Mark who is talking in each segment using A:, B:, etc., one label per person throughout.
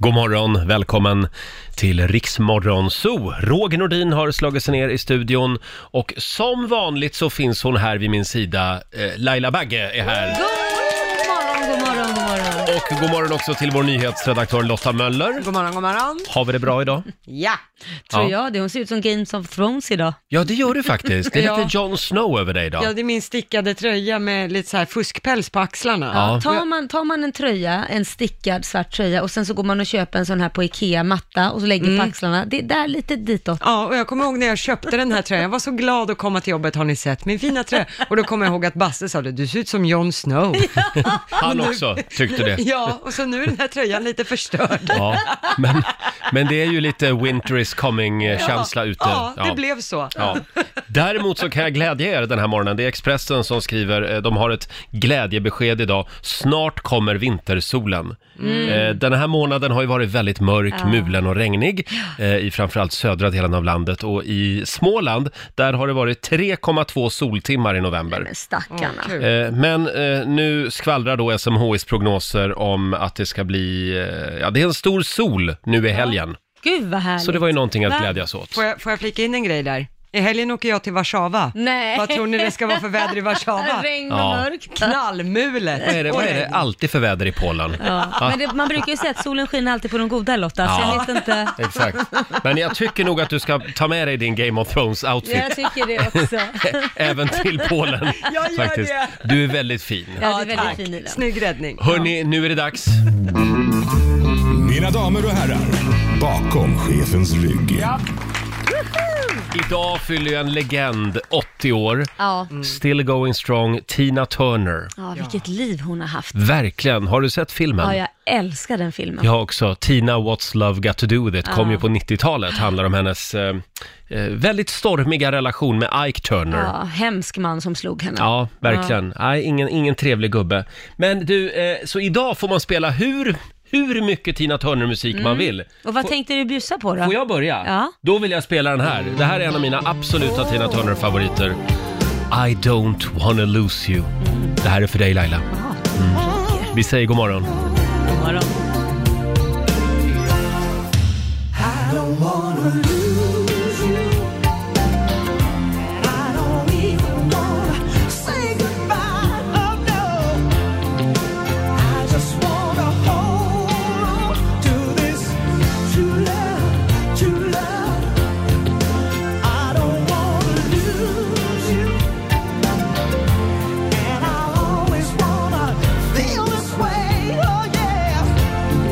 A: God morgon, välkommen till Riksmorgon Zoo. Roger Nordin har slagit sig ner i studion och som vanligt så finns hon här vid min sida. Eh, Laila Bagge är här.
B: God morgon, god morgon, god morgon.
A: Och god morgon också till vår nyhetsredaktör Lotta Möller.
C: God morgon, god morgon.
A: Har vi det bra idag?
C: Ja.
A: Ja.
B: Tror jag det. Hon ser ut som Games of Thrones idag.
A: Ja, det gör du faktiskt. Det är
C: Ja.
A: lite Jon Snow över dig idag.
C: ja, det är min stickade tröja med lite så här fuskpäls på axlarna.
A: Ja.
B: Tar man, tar man en tröja, en stickad svart tröja och sen så går man och köper en sån här på Ikea, matta och så lägger på axlarna. Det är där lite ditåt.
C: Ja, och jag kommer ihåg när jag köpte den här tröjan, jag var så glad att komma till jobbet, har ni sett min fina tröja? Och då kommer jag ihåg att Basse sa det, du ser ut som Jon Snow.
A: Han också tyckte det.
C: Ja, och så nu är den här tröjan lite förstörd.
A: Ja, men, men det är ju lite winter is coming-känsla ute.
C: Ja, det blev så.
A: Ja. Däremot så kan jag glädja er den här morgonen. Det är Expressen som skriver, eh, de har ett glädjebesked idag. Snart kommer vintersolen. Eh, Den här månaden har ju varit väldigt mörk,
B: Mm. Ja.
A: mulen och regnig eh, i framförallt södra delen av landet och i Småland, där har det varit 3,2 soltimmar i november.
B: Men stackarna.
C: Åh, kul.
A: Eh, Men eh, nu skvallrar då SMHIs prognoser om att det ska bli, eh, ja det är en stor sol nu i helgen.
B: Gud vad härligt.
A: Så det var ju någonting
B: Va?
A: att glädjas åt.
C: Får jag, får jag flika in en grej där? I helgen åker jag till Warszawa.
B: Nej.
C: Vad tror ni det ska vara för väder i Warszawa?
B: Regn och
A: Ja.
B: mörkt.
C: Knallmulet.
A: Vad är det, vad är det alltid för väder i Polen?
B: Ja. Men det, man brukar ju säga att solen skiner alltid på de goda Lotta, så
A: Ja.
B: jag vet inte.
A: Exakt. Men jag tycker nog att du ska ta med dig din Game of Thrones-outfit
B: Jag tycker det också.
A: även till Polen.
C: Jag gör
A: faktiskt.
C: det.
A: Du är väldigt fin.
B: Ja, det är
C: tack.
B: väldigt fin i den.
C: Snygg räddning.
A: Hörni, nu är det dags.
D: Mina damer och herrar, bakom chefens rygg.
A: Idag fyller ju en legend 80 år.
B: Ja.
A: Still going strong, Tina Turner.
B: ja, vilket liv hon har haft.
A: Verkligen. Har du sett
B: Ja,
A: filmen?
B: jag älskar den filmen.
A: Jag också. Tina What's Love Got To Do With It kom
B: Ja.
A: ju på 90-talet. Handlar om hennes eh, eh, väldigt stormiga relation med Ike Turner.
B: Ja, hemsk man som slog henne.
A: Ja, verkligen. Nej, ingen, ingen trevlig gubbe. Men du, eh, så idag får man spela hur, hur mycket Tina Turner-musik
B: Mm.
A: man vill.
B: Och vad tänkte du bjussa på då?
A: Får jag börja?
B: Ja.
A: Då vill jag spela den här. Det här är en av mina absoluta Tina Turner-favoriter. I don't wanna lose you. Det här är för dig Laila. Mm. Vi säger god morgon.
B: God morgon.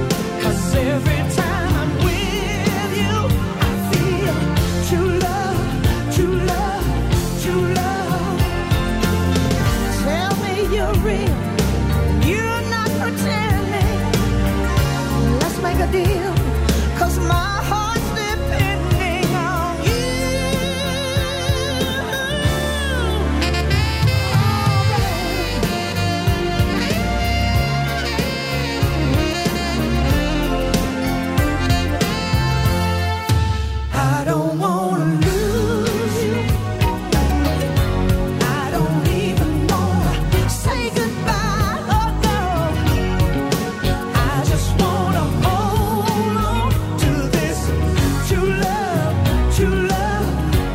E: Every time I'm with you, I feel true love, true love, true love. Tell me you're real. You're not pretending. Let's make a deal. Cause my heart's depending on you. Oh, baby. I don't wanna lose you. I don't even wanna say goodbye, oh no. I just wanna hold on to this true love, true love.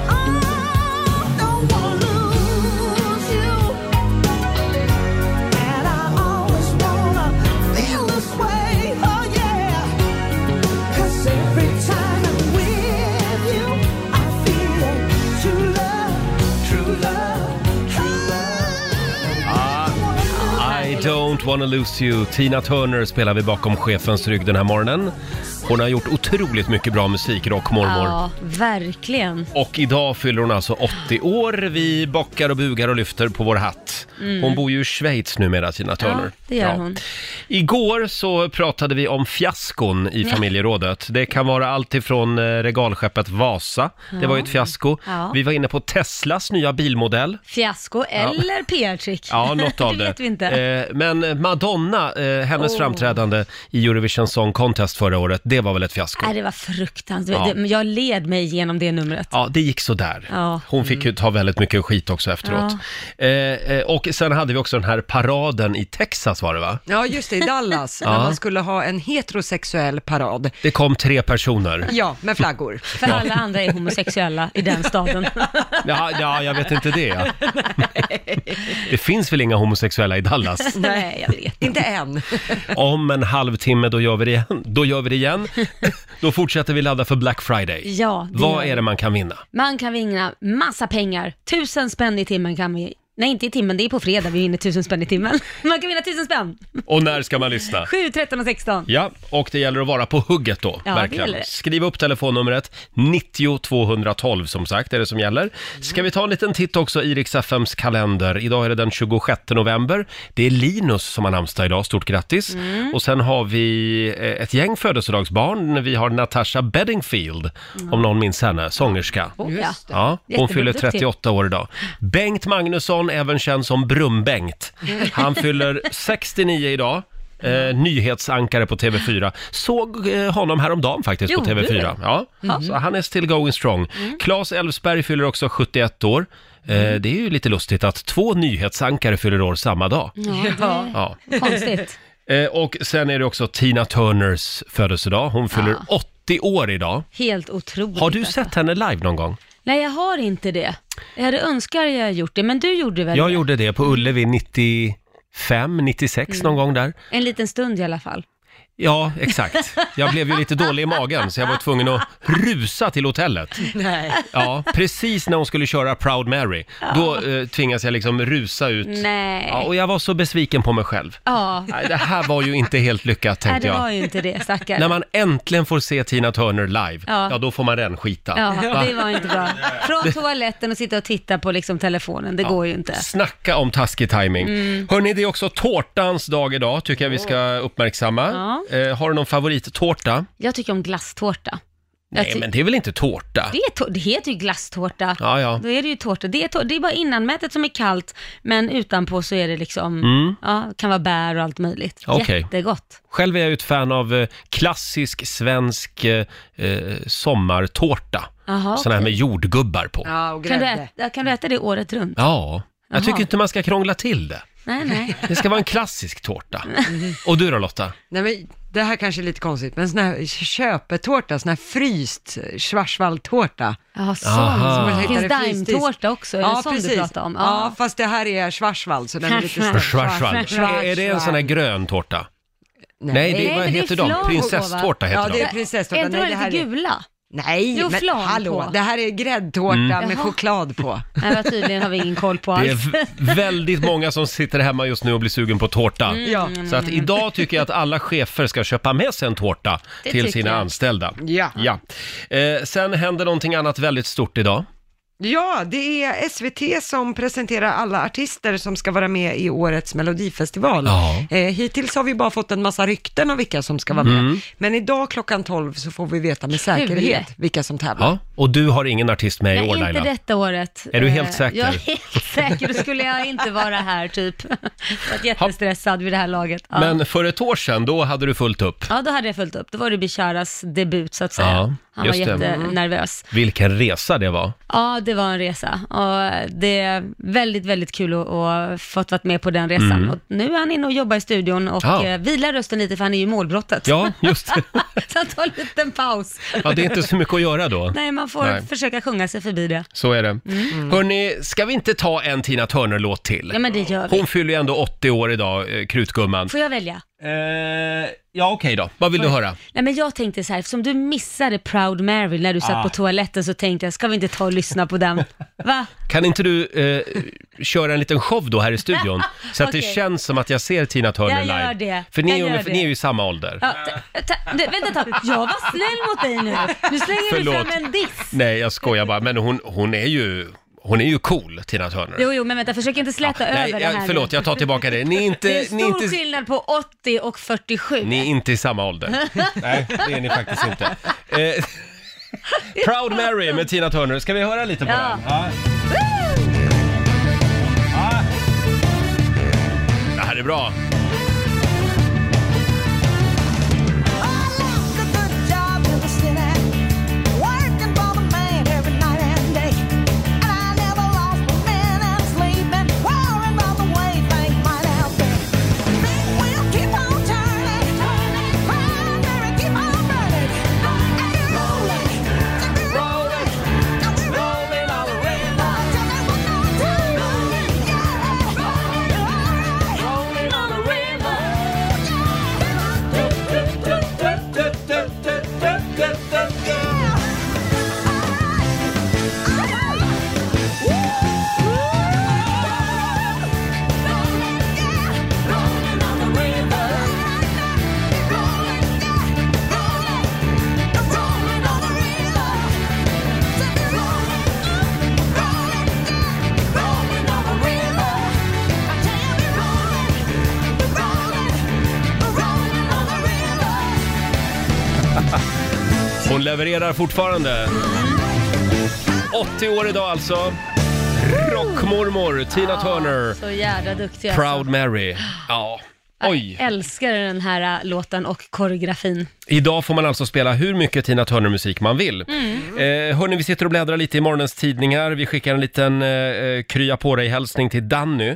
E: I don't wanna lose you, and I always wanna feel this way, oh yeah. Cause every time I'm with you, I feel true love, true love, true love.
A: I don't wanna lose you. Tina Turner spelar vi bakom chefens rygg den här morgonen. Hon har gjort otroligt mycket bra musik, rockmormor.
B: Ja, verkligen.
A: Och idag fyller hon alltså 80 år. Vi bockar och bugar och lyfter på vår hatt. Hon bor ju i Schweiz numera, Tina Turner.
B: Mm. Ja, det gör hon.
A: Igår så pratade vi om fiaskon i familjerådet. Det kan vara allt ifrån eh, regalskeppet Vasa, det var ju ett fiasko.
B: Ja.
A: Vi var inne på Teslas nya bilmodell.
B: Fiasko eller PR-trick.
A: Ja, något av det.
B: det vet vi inte.
A: Eh, Men Madonna, eh, hennes framträdande i Eurovision Song Contest förra året, det det var väl ett fiasko?
B: Nej, det var fruktansvärt.
A: Ja.
B: Det- men Jag led mig igenom det numret.
A: Ja, det gick så där.
B: Ja. Mm.
A: Hon fick ju ta väldigt mycket skit också efteråt. Eh, eh, och sen hade vi också den här paraden i Texas var det va?
C: Ja, just det, i Dallas, när
A: Ja.
C: man skulle ha en heterosexuell parad.
A: Det kom tre personer.
C: Ja, med flaggor.
B: För alla andra är homosexuella i den staden.
A: Ja, ja jag vet inte det. Det finns väl inga homosexuella i Dallas?
B: Nej, jag vet.
C: Inte än.
A: Om en halvtimme, då gör vi det igen. Då, gör vi det igen. då fortsätter vi ladda för Black Friday.
B: Ja, det gör
A: Vad
B: vi.
A: är det man kan vinna?
B: Man kan vinna massa pengar. Tusen spänn i timmen kan vi... Nej, inte i timmen. Det är på fredag vi vinner tusen spänn i timmen. Man kan vinna tusen spänn.
A: Och när ska man lyssna?
B: 7, 13 och 16.
A: Ja, och det gäller att vara på hugget då.
B: Ja, det
A: verkligen.
B: gäller det.
A: Skriv upp telefonnumret 90 212 som sagt, är det som gäller. Ska vi ta en liten titt också i Rix FMs kalender. Idag är det den 26 november. Det är Linus som har namnsdag idag, stort grattis.
B: Mm.
A: Och sen har vi eh, ett gäng födelsedagsbarn. Vi har Natasha Bedingfield, om någon minns henne, sångerska.
B: Oh, ja.
A: Ja, hon
B: Jättebra,
A: fyller
B: duktig.
A: 38 år idag. Bengt Magnusson, även känd som Brum-Bengt. Han fyller 69 idag. Eh, nyhetsankare på TV4. Såg eh, honom häromdagen faktiskt på
B: Gjorde
A: TV4.
B: du? Mm.
A: Ja, så han är still going strong. Claes Elfsberg fyller också 71 år. Eh, det är ju lite lustigt att två nyhetsankare fyller år samma dag.
B: Ja,
A: Ja.
B: det är konstigt.
A: Eh, och sen är det också Tina Turners födelsedag. Hon fyller 80 år idag.
B: Helt otroligt.
A: Har du
B: alltså.
A: sett henne live någon gång?
B: Nej, jag har inte det. Jag hade önskat att jag hade gjort det, men du gjorde väl
A: Jag
B: det?
A: gjorde det på Ullevi 95, 96
B: Mm.
A: någon gång där.
B: En liten stund i alla fall.
A: Ja, exakt. Jag blev ju lite dålig i magen så jag var tvungen att rusa till hotellet.
C: Nej.
A: Ja, precis när hon skulle köra Proud Mary. Då eh, tvingas jag liksom rusa ut.
B: Nej.
A: Ja, och jag var så besviken på mig själv.
B: Ja,
A: Nej, det här var ju inte helt lyckat
B: Nej,
A: tänkte
B: det var
A: jag.
B: ju inte det, stackare.
A: När man äntligen får se Tina Turner live, ja,
B: Ja.
A: då får man rännskita.
B: Ja,
A: Va?
B: det var inte bra. Från toaletten och sitta och titta på liksom telefonen, det går ju inte. Mm.
A: Snacka om taskig timing. Hörni, det är också tårtans dag idag, tycker jag vi ska uppmärksamma.
B: Ja.
A: Eh, har du någon favorittårta?
B: Jag tycker om glasstårta. Jag
A: Nej,
B: ty-
A: men det är väl inte tårta?
B: det, är tå- det heter ju glasstårta.
A: Ja, ja.
B: Då är det ju tårta. Det är, tå- det är bara innanmätet som är kallt, men utanpå så är det liksom, ja, kan vara bär och allt möjligt.
A: Mm. Okej.
B: Jättegott.
A: Själv är jag ju ett fan av eh, klassisk svensk eh, eh, sommartårta.
B: Aha,
A: Sån här med jordgubbar på. Ja,
C: Ja, och
B: Kan du,
C: grädde.
B: äta, kan du äta det året runt?
A: jag
B: Jaha.
A: tycker inte man ska krångla till det.
B: Nej, nej.
A: Det ska vara en klassisk tårta. Och du då Lotta?
C: Nej, men det här kanske är lite konstigt, men sån här köpetårta, sån här fryst schwarzwaldtårta.
B: Jaha, sån.
A: Aha. Som man
B: Det finns
C: hittade fryst i-
B: daimtårta också, är det sån du pratar om?
C: Ja, fast det här är schwarzwald, så den är lite
B: Schwarzwald.
A: Schwarzwald. Är,
B: Schwarzwald.
A: är det en sån här grön tårta? Nej, det,
B: Nej,
A: vad
B: men det är
A: heter de?
B: flor, va?
A: Prinsesstårta heter
C: Ja, det är
A: de.
B: Är
C: prinsesstårta.
B: inte de
C: Nej, det
B: lite
C: här är...
B: gula?
C: Nej,
B: Jo,
C: men
B: flan
C: hallå,
B: på.
C: det här är gräddtårta med
A: Mm.
B: Jaha.
C: choklad på.
B: Nej, vad tydligen har vi ingen koll på
A: Det är
B: alls.
A: v- väldigt många som sitter hemma just nu och blir sugen på tårta.
B: Mm.
C: Ja.
A: Så att idag tycker jag att alla chefer ska köpa med sig en tårta
B: Det
A: till
B: tycker
A: sina
B: jag.
A: anställda.
C: Ja.
A: Ja. Eh, sen händer någonting annat väldigt stort idag.
C: ja, det är SVT som presenterar alla artister som ska vara med i årets melodifestival.
A: Ja.
C: Eh, hittills har vi bara fått en massa rykten om vilka som ska vara med,
A: Mm.
C: men idag klockan 12 så får vi veta med säkerhet vilka som tävlar.
A: Ja. Och du har ingen artist med i
B: Nej,
A: år
B: inte
A: Laila.
B: detta året.
A: Är du helt
B: Eh,
A: säker?
B: Jag är helt säker, då skulle jag inte vara här typ. Jag varit jättestressad vid det här laget. Ja.
A: Men för ett år sedan, då hade du fullt upp.
B: ja, då hade jag följt upp. Då var det Bisharas debut så att säga.
A: Ja,
B: Han var
A: just det.
B: jättenervös.
A: Vilken resa det var.
B: Ja, det var en resa och det är väldigt, väldigt kul att, att fått vara med på den resan. Och nu är han inne och jobbar i studion och
A: Mm. Ja.
B: eh, vilar rösten lite för han är ju i målbrottet.
A: Ja, just det.
B: så han tar en liten paus.
A: Ja, det är inte så mycket att göra då.
B: Nej, man får Mm.
A: Nej.
B: försöka sjunga sig förbi det.
A: Så är det. Hörni, ska vi inte ta en Tina Turner-låt till?
B: Ja, men det gör vi.
A: Hon fyller ju ändå 80 år idag, eh, krutgumman.
B: Får jag välja?
A: Eh, ja, okej då. Vad vill du höra?
B: Nej men jag tänkte så här, eftersom du missade Proud Mary när du satt
A: Ah.
B: på toaletten så tänkte jag, ska vi inte ta och lyssna på den? Va?
A: Kan inte du eh, köra en liten show då här i studion? Så att det
B: Okej.
A: känns som att jag ser Tina Turner
B: Jag
A: live.
B: gör det.
A: För ni,
B: Jag
A: är,
B: gör
A: ungefär-
B: det.
A: ni är ju i samma ålder.
B: Ja, ta, ta, du, vänta ett tag, jag var snäll mot dig nu. Nu slänger du
A: Förlåt.
B: fram en diss.
A: Nej, jag skojar bara. Men hon, hon, är, ju, hon är ju cool, Tina Turner.
B: Jo, jo, men vänta, försök inte släta
A: Ah, Nej,
B: över det här
A: jag,
B: nu.
A: förlåt, jag tar tillbaka det. Ni är
B: Det
A: inte,
B: är
A: ni är
B: stor
A: inte, Mm.
B: skillnad på 80 och 47.
A: ni är inte i samma ålder. Nej, det är ni faktiskt inte. Eh, Proud Mary med Tina Turner. Ska vi höra lite på
B: Ja.
A: den? Ja. Ja. Det här är bra.
E: I like the good
A: Hon levererar fortfarande. 80 år idag alltså. Rockmormor Tina Turner.
B: Så jävla duktig alltså.
A: Proud Mary. Ja. Oj.
B: Jag älskar den här ä, låten och koreografin.
A: Idag får man alltså spela hur mycket Tina Turner-musik man vill.
B: Mm.
A: Eh, hörni, vi sitter och bläddrar lite i morgonens tidningar. Vi skickar en liten eh, eh, krya på dig-hälsning till Danny.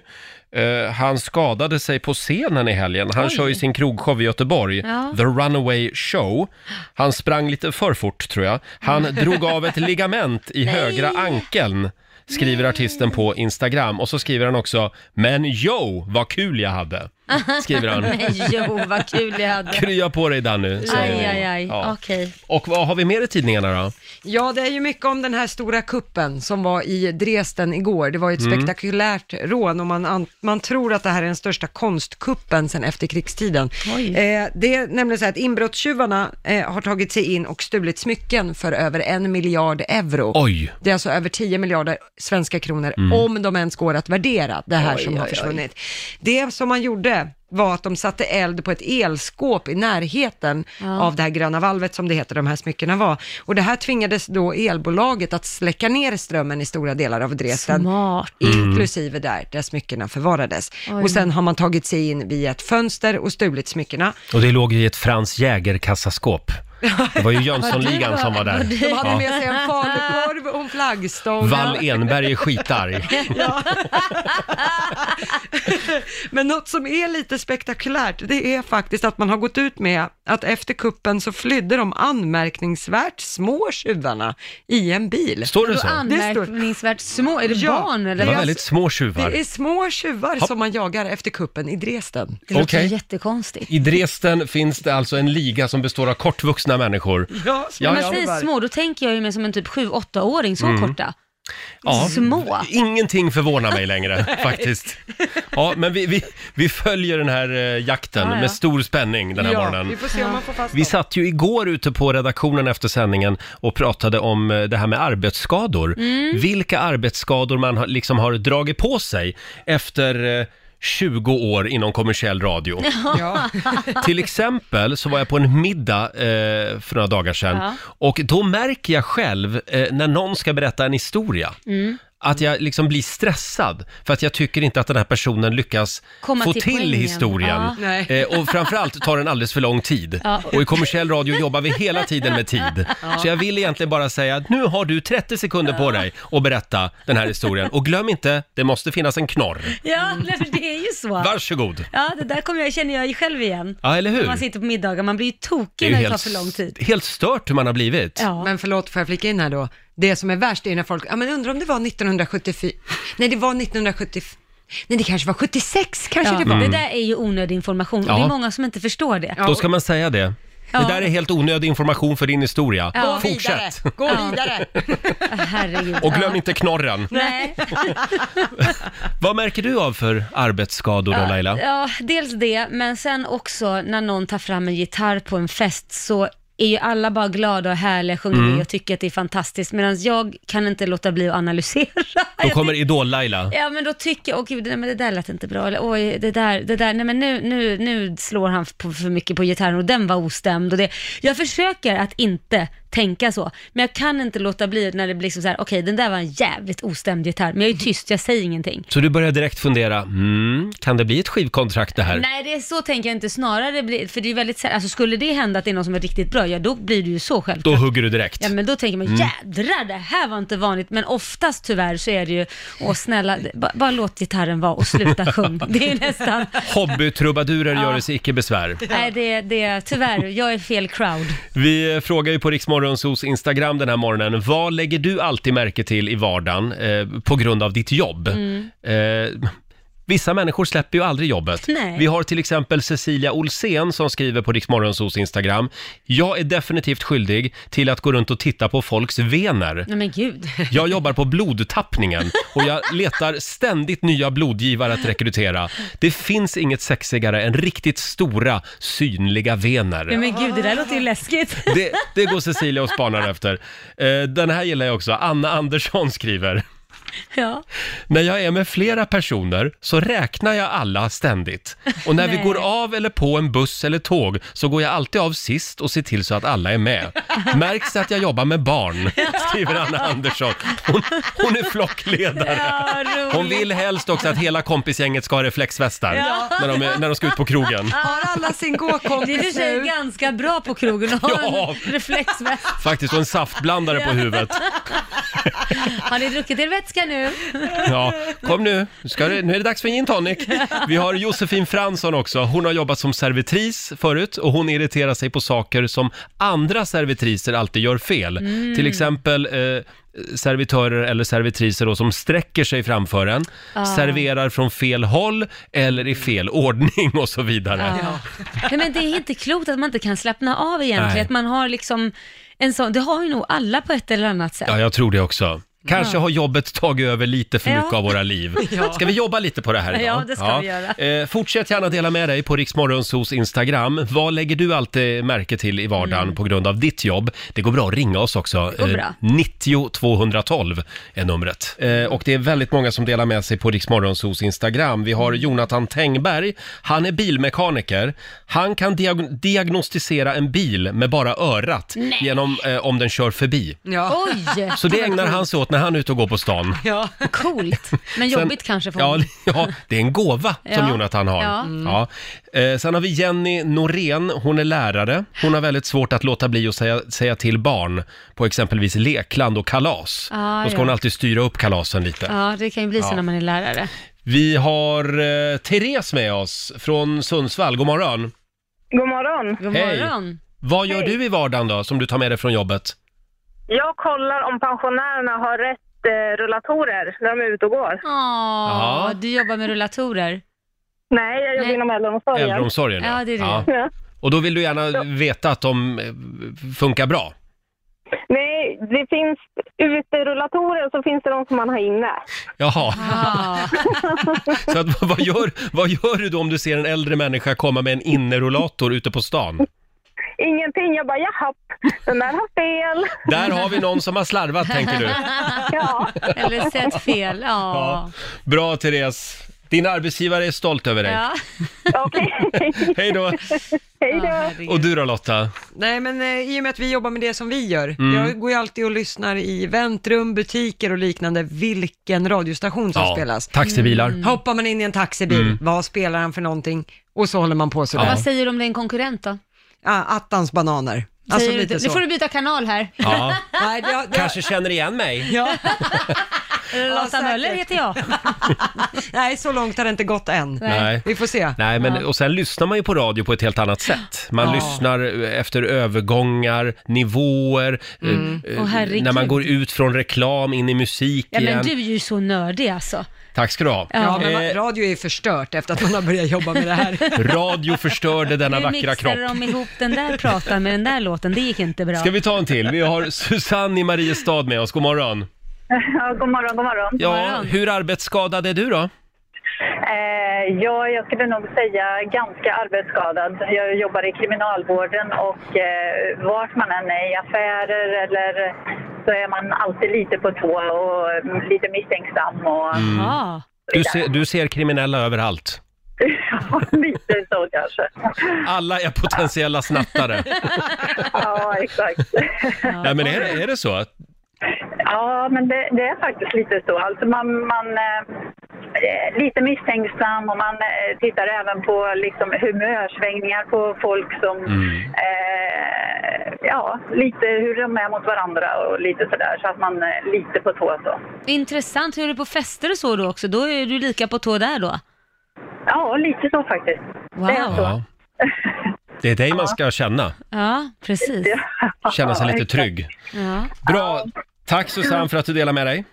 A: Eh, han skadade sig på scenen i helgen. Han kör ju sin krogshow i Göteborg,
B: Ja.
A: The Runaway Show. Han sprang lite för fort, tror jag. Han drog av ett ligament i högra ankeln. Skriver artisten på Instagram och så skriver han också “Men jo, vad kul jag hade”. Skriver han.
B: Nej, jo vad kul jag hade.
A: Krya på dig Danny, säger vi.
B: Aj, aj, aj.
A: Ja.
B: Okej.
A: Och vad har vi mer i tidningarna då?
C: Ja, det är ju mycket om den här stora kuppen som var i Dresden igår. Det var ju ett spektakulärt rån och man, an- man tror att det här är den största konstkuppen sedan efterkrigstiden.
B: Oj.
C: Eh, det är nämligen så här att inbrottstjuvarna eh, har tagit sig in och stulit smycken för över en miljard euro.
A: Oj!
C: Det är alltså över 10 miljarder svenska kronor, om de ens går att värdera, det här som har försvunnit. Det som man gjorde var att de satte eld på ett elskåp i närheten av det här gröna valvet som det heter, de här smyckena var. Och det här tvingades då elbolaget att släcka ner strömmen i stora delar av Dresden, Mm.
B: Smart.
C: inklusive där, där smyckena förvarades.
B: Oj.
C: Och sen har man tagit sig in via ett fönster och stulit smyckena.
A: Och det låg i ett Frans Jäger-kassaskåp. Det var ju Jönssonligan som var där.
C: De hade
A: Ja.
C: med sig en falukorv och en flaggstång.
A: Wall Enberg är skitarg.
C: Men något som är lite spektakulärt, det är faktiskt att man har gått ut med att efter kuppen så flydde de anmärkningsvärt små tjuvarna i en bil.
A: Står det
B: Då
A: så?
B: anmärkningsvärt små. Är det
C: Ja,
B: barn eller?
A: Det var
B: vad?
A: väldigt små
C: Det
A: tjuvar.
C: är små tjuvar som man jagar efter kuppen i Dresden.
B: Det låter
A: Okej.
B: jättekonstigt.
A: I Dresden finns det alltså en liga som består av kortvuxna människor.
C: Ja, små
A: Ja,
B: När
A: ja.
B: man säger små, då tänker jag ju mer som en typ 7-8-åring, så
A: Mm.
B: korta.
A: Ja.
B: Små.
A: Ingenting förvånar mig längre faktiskt. Ja, men vi, vi, vi följer den här eh, jakten
B: Ja, ja.
A: med stor spänning den här morgonen.
C: vi får se om man får fast
A: Vi
C: dem.
A: satt ju igår ute på redaktionen efter sändningen och pratade om eh, det här med arbetsskador.
C: Mm.
A: Vilka arbetsskador man har- liksom har dragit på sig efter eh, 20 år inom kommersiell radio.
C: Ja.
A: Till exempel så var jag på en middag eh, för några dagar sedan
B: Ja.
A: och då märker jag själv eh, när någon ska berätta en historia
B: Mm,
A: att jag liksom blir stressad för att jag tycker inte att den här personen lyckas
B: Komma
A: få
B: till
A: till,
B: poängen.
A: historien.
B: Ja.
C: Nej.
A: Eh, och framförallt tar den alldeles för lång tid.
B: Ja.
A: Och i kommersiell radio jobbar vi hela tiden med tid. Så jag vill egentligen bara säga att nu har du 30 sekunder på dig att berätta den här historien. Och glöm inte, det måste finnas en knorr.
B: Ja, nej, men det är ju så.
A: Varsågod!
B: Ja, det där kommer jag, känner jag ju själv igen.
A: Ja, eller hur?
B: När man sitter på middagar, man blir ju
A: Det är
B: tokig
A: ju
B: när det tar
A: helt,
B: för lång tid.
A: helt stört hur man har blivit.
B: Ja.
C: Men förlåt, får jag flika in här då? Det som är värst är när folk, ja men undrar om det var 1974, nej det var 1974, nej det kanske var 76 kanske
B: Ja,
C: det var.
B: typ Det där är ju onödig information
A: Mm. Ja.
B: och det är många som inte förstår det.
A: Då ska man säga det. Det
B: Ja.
A: där är helt onödig information för din historia.
B: Ja.
C: Gå
A: Fortsätt!
C: vidare, gå
B: Ja.
C: vidare.
B: Herregud.
A: Och glöm
B: Ja.
A: inte knorren.
B: Nej.
A: Vad märker du av för arbetsskador då Laila?
B: Ja, dels det, men sen också när någon tar fram en gitarr på en fest så är ju alla bara glada och härliga, sjunger
A: Mm.
B: med och tycker att det är fantastiskt, medan jag kan inte låta bli att analysera.
A: Då kommer Idol-Laila.
B: Ja men då tycker jag, åh gud, nej, men det där lät inte bra, eller oj, det där, det där, nej men nu, nu, nu slår han på, för mycket på gitarren och den var ostämd och det. Jag försöker att inte tänka så, men jag kan inte låta bli när det blir liksom så här, okej den där var en jävligt ostämd gitarr, men jag är tyst, jag säger ingenting.
A: Så du börjar direkt fundera, mm, kan det bli ett skivkontrakt det här?
B: Nej, det är så tänker jag inte. Snarare blir, för det är väldigt sällan, alltså skulle det hända att det är någon som är riktigt bra, ja då blir du ju så
A: Då
B: självklart.
A: hugger du direkt.
B: Ja men då tänker man
A: Mm.
B: jädrar det här var inte vanligt men oftast tyvärr så är det ju, åh snälla, det- ba, bara låt gitarren vara och sluta sjung. Det är nästan,
A: Hobbytrubadurer
B: Ja.
A: göre sig icke besvär.
B: nej det, det, tyvärr, jag är fel crowd.
A: Vi eh, frågar ju på Riksmorgonsos Instagram den här morgonen, vad lägger du alltid märke till i vardagen eh, på grund av ditt jobb?
B: Mm.
A: Eh, Vissa människor släpper ju aldrig jobbet.
B: Nej.
A: Vi har till exempel Cecilia Olsén som skriver på Riksmorgonsos Instagram. Jag är definitivt skyldig till att gå runt och titta på folks vener.
B: Nej men gud.
A: Jag jobbar på blodtappningen och jag letar ständigt nya blodgivare att rekrytera. Det finns inget sexigare än riktigt stora, synliga vener.
B: Nej men gud, det där låter ju läskigt.
A: Det, det går Cecilia och spanar efter. Eh, Den här gillar jag också. Anna Andersson skriver.
B: Ja.
A: När jag är med flera personer så räknar jag alla ständigt. Och när vi
B: Nej.
A: går av eller på en buss eller tåg så går jag alltid av sist och ser till så att alla är med. Märks att jag jobbar med barn, skriver Anna Andersson. Hon, hon är flockledare.
B: Ja, roligt.
A: Hon vill helst också att hela kompisgänget ska ha reflexvästar
B: Ja.
A: när, de är, när de ska ut på krogen.
C: Har alla sin
B: Det är i och för
C: gåkompis
B: sig
C: nu?
B: ganska bra på krogen att ha
A: Ja.
B: en reflexväst.
A: Faktiskt, och en saftblandare på huvudet.
B: Har ni druckit er vätska nu?
A: Ja, kom nu. Nu, ska det, nu är det dags för en gin tonic. Vi har Josefin Fransson också. Hon har jobbat som servitris förut och hon irriterar sig på saker som andra servitriser alltid gör fel. Till exempel eh, servitörer eller servitriser då, som sträcker sig framför en, serverar från fel håll eller i fel ordning och så vidare.
B: Nej, men det är inte klokt att man inte kan slappna av egentligen,
A: Nej.
B: att man har liksom en sån, det har ju nog alla på ett eller annat sätt.
A: Ja, jag tror det också. Kanske har jobbet tagit över lite för
B: Ja.
A: mycket av våra liv. Ska vi jobba lite på det här idag?
B: Ja, det ska vi göra.
A: Eh, fortsätt gärna dela med dig på Riksmorgonsos Instagram. Vad lägger du alltid märke till i vardagen på grund av ditt jobb? Det går bra att ringa oss också.
B: Mm. går bra.
A: 90 212 är numret. Eh, och det är väldigt många som delar med sig på Riksmorgonsos Instagram. Vi
B: Mm.
A: har Jonathan Tengberg. Han är bilmekaniker. Han kan diag- diagnostisera en bil med bara örat genom eh, om den kör förbi.
C: Ja.
B: Oj,
A: Så det ägnar han sig åt när han är ute och går på stan.
C: ja.
B: coolt.
A: Sen-
B: Men jobbigt kanske för
A: ja,
B: honom.
A: ja, det är en gåva som
B: Ja.
A: Jonathan har. Ja.
B: Ja. Mm.
A: Eh, sen har vi Jenny Norén, hon är lärare. Hon har väldigt svårt att låta bli att säga, säga till barn på exempelvis lekland och kalas.
B: Ah,
A: Då ska
B: ja.
A: hon alltid styra upp kalasen lite.
B: Ja, det kan ju bli så när man är lärare.
A: Vi har eh, Therese med oss från Sundsvall. God morgon!
F: God morgon.
B: God
A: Hej.
B: morgon.
A: Vad gör du i vardagen då, som du tar med dig från jobbet?
F: Jag kollar om pensionärerna har rätt eh, rullatorer när de är ute och går.
B: Åh,
A: Ja.
B: du jobbar med rullatorer.
F: Nej, jag jobbar
B: Nej.
F: inom äldreomsorgen.
A: Äldreomsorgen?
B: Ja, det är det.
A: Och då vill du gärna veta att de eh, funkar bra?
F: Nej, det finns uterullatorer och så finns det de som man har inne.
A: Jaha.
B: Ja,
A: Så att, vad, gör, vad gör du då om du ser en äldre människa komma med en innerullator ute på stan?
F: Ingenting, jag bara jaha, den där har fel.
A: Där har vi någon som har slarvat, tänker du.
F: Ja,
B: eller sett fel. Ja.
A: Bra, Therese. Din arbetsgivare är stolt över dig.
B: Ja.
F: okej.
A: Hej då!
F: Hej
B: Ja,
F: då.
B: herregud.
A: Och du då Lotta?
C: Nej men eh, i och med att vi jobbar med det som vi gör,
B: Mm.
C: jag går ju alltid och lyssnar i väntrum, butiker och liknande, vilken radiostation som spelas.
B: Mm.
A: taxibilar.
C: Hoppar man in i en taxibil, vad spelar han för någonting? Och så håller man på sådär.
B: Vad
C: Ja.
B: säger du om det är en konkurrent då?
C: attans bananer. Alltså
B: Säger du,
C: lite
B: nu
C: så.
B: får du byta kanal här.
A: Ja,
C: Nej, det, det,
A: kanske känner igen mig.
C: ja.
B: Lotta
C: säkert.
B: Möller heter jag.
C: Nej, så långt har det inte gått än.
A: Nej.
C: Vi får se.
A: Nej, men och sen lyssnar man ju på radio på ett helt annat sätt. Man lyssnar eh, efter övergångar, nivåer, eh, eh,
B: Mm. Åh, herregud.
A: när man går ut från reklam in i musik
B: Ja,
A: igen.
B: men du är ju så nördig alltså.
A: Tack ska du ha.
C: Ja, men
A: Eh,
C: va- radio är ju förstört efter att man har börjat jobba med det här.
A: Radio förstörde denna
B: Nu
A: vackra kropp.
B: mixade de ihop den där pratan med den där låten, det gick inte bra.
A: Ska vi ta en till? Vi har Susanne i Mariestad med oss. God morgon.
F: Ja, god morgon, god morgon.
A: Ja,
B: morgon.
A: hur arbetsskadad är du då?
F: Eh, ja, jag skulle nog säga ganska arbetsskadad. Jag jobbar i kriminalvården och eh, vart man än är i affärer eller så är man alltid lite på tå och mm, lite misstänksam och
B: Ja.
A: Du ser, du ser kriminella överallt.
F: Ja, lite så kanske.
A: Alla är potentiella snattare.
F: Ja, exakt.
A: Nej, men är, det- är det så?
F: Ja, men det, det är faktiskt lite så. Alltså man, man eh, är lite misstänksam och man eh, tittar även på liksom humörsvängningar på folk som,
A: Mm.
F: eh, ja, lite hur de är mot varandra och lite sådär. Så att man är lite på tå så.
B: Intressant, hur är det på fester och så då också? Då är du lika på tå där då?
F: Ja, lite så faktiskt. Det är
B: Wow.
F: så.
A: Ja. Det är dig man ska känna.
B: Ja, precis.
A: Känna sig lite
F: exakt.
A: trygg.
B: Ja.
A: Bra. Tack Susanne för att du delar med dig.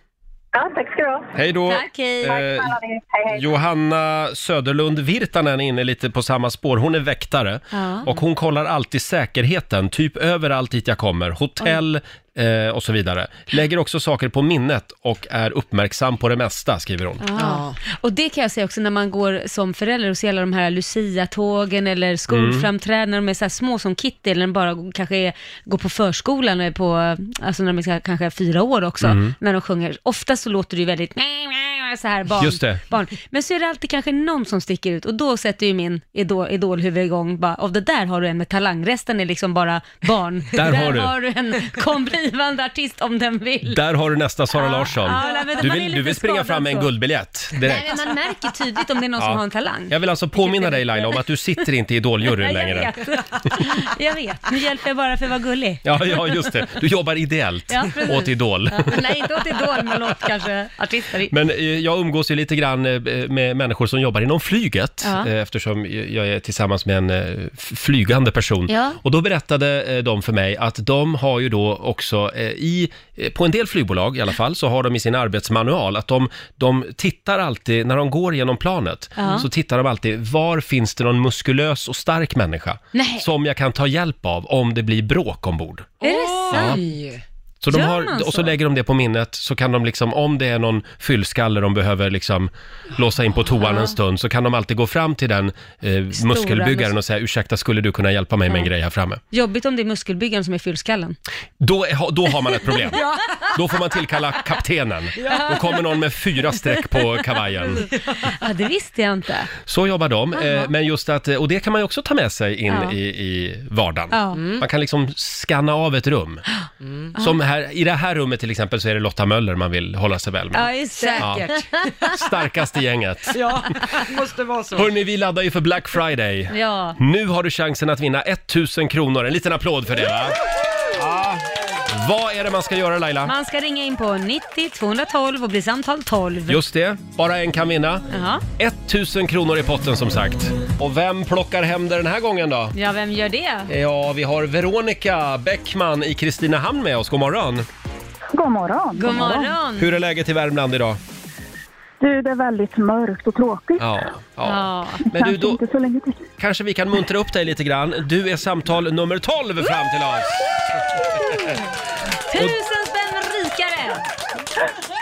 F: Ja, tack ska du ha.
A: Hej då.
B: Tack, hej.
A: Eh,
F: Hej, hej.
A: Johanna Söderlund Virtanen är inne lite på samma spår. Hon är väktare
B: Ja.
A: och hon kollar alltid säkerheten, typ överallt dit jag kommer. Hotell eh, och så vidare. Lägger också saker på minnet och är uppmärksam på det mesta, skriver hon.
B: Ja. Och det kan jag säga också när man går som förälder och ser alla de här Lucia-tågen eller skolframträdanden, när de är så här små som Kitty, eller den bara g- kanske är, går på förskolan och
A: Mm.
B: är på, alltså när de är så här, kanske fyra år också, när de sjunger. Ofta så låter det ju väldigt "Ah", så här barn,
A: Just det.
B: barn. Men så är det alltid kanske någon som sticker ut och då sätter ju min idol, idolhuvud igång bara, av det där har du en med talang, resten är liksom bara barn.
A: Där har du.
B: en kom blivande artist om den vill.
A: Där har du nästa Sara Larsson.
B: ja, nej, men
A: Du
B: man är
A: vill, du
B: lite
A: vill springa
B: skadad
A: fram med en
B: så.
A: guldbiljett
B: Nej,
A: direkt.
B: men man märker tydligt om det är någon
A: Ja.
B: som har en talang.
A: Jag vill alltså påminna dig Laila om att du sitter inte i Idoljuryn
B: Nej, jag
A: längre.
B: vet. jag vet. Nu hjälper jag bara för att vara gullig.
A: Ja, ja, just det. Du jobbar ideellt
B: Ja, precis.
A: åt Idol.
B: Ja, nej, inte åt Idol, men åt kanske artister.
A: Men eh, jag umgås ju lite grann eh, med människor som jobbar inom flyget
B: Ja.
A: eh, eftersom jag är tillsammans med en eh, f- flygande person.
B: Ja.
A: Och då berättade eh, de för mig att de har ju då också eh, i, eh, på en del flygbolag i alla fall, så har de i sin arbetsmanual att de, de tittar alltid, när de går genom planet,
B: Ja.
A: så tittar de alltid, var finns det någon muskulös och stark människa
B: Nej.
A: som jag kan ta hjälp av om det blir bråk ombord?
B: Är det sant?
C: Oj.
A: Så de
B: Gör
A: har,
B: man
A: och så
B: så?
A: lägger de det på minnet, så kan de liksom, om det är någon fyllskalle de behöver liksom låsa in på toan en stund, så kan de alltid gå fram till den eh, muskelbyggaren och säga ursäkta, skulle du kunna hjälpa mig med en grej här framme?
B: Jobbigt om det är muskelbyggaren som är fyllskallen.
A: Då, är- då har man ett problem. Då får man tillkalla kaptenen. Då kommer någon med fyra streck på kavajen.
B: Ja, det visste jag inte.
A: Så jobbar de. Eh, men just att, eh, och det kan man ju också ta med sig in
B: Ja.
A: i, i vardagen.
B: Ja.
A: Man kan liksom skanna av ett rum.
B: Mm.
A: Som här, I det här rummet till exempel så är det Lotta Möller man vill hålla sig väl med.
B: Ja, just det.
C: Säkert.
A: Starkast i gänget.
C: Ja, måste vara så.
A: Hörni, vi laddar ju för Black Friday.
B: Ja.
A: Nu har du chansen att vinna 1000 kronor. En liten applåd för det va? Ja. Vad är det man ska göra Laila?
B: Man ska ringa in på 90 212 och bli samtal 12.
A: Just det, bara en kan vinna.
B: Jaha.
A: 1000 kronor i potten som sagt. Och vem plockar hem det den här gången då?
B: Ja, vem gör det?
A: Ja, vi har Veronica Bäckman i Kristinehamn med oss. God morgon!
G: God morgon.
B: God morgon.
A: Hur är läget i Värmland idag?
G: Du, det är väldigt mörkt och tråkigt.
A: Ja.
B: Ja.
A: Men du,
G: Kanske
A: då
G: inte så länge till.
A: kanske vi kan muntra upp dig lite grann. Du är samtal nummer 12 fram till oss.
B: Tusen spänn rikare!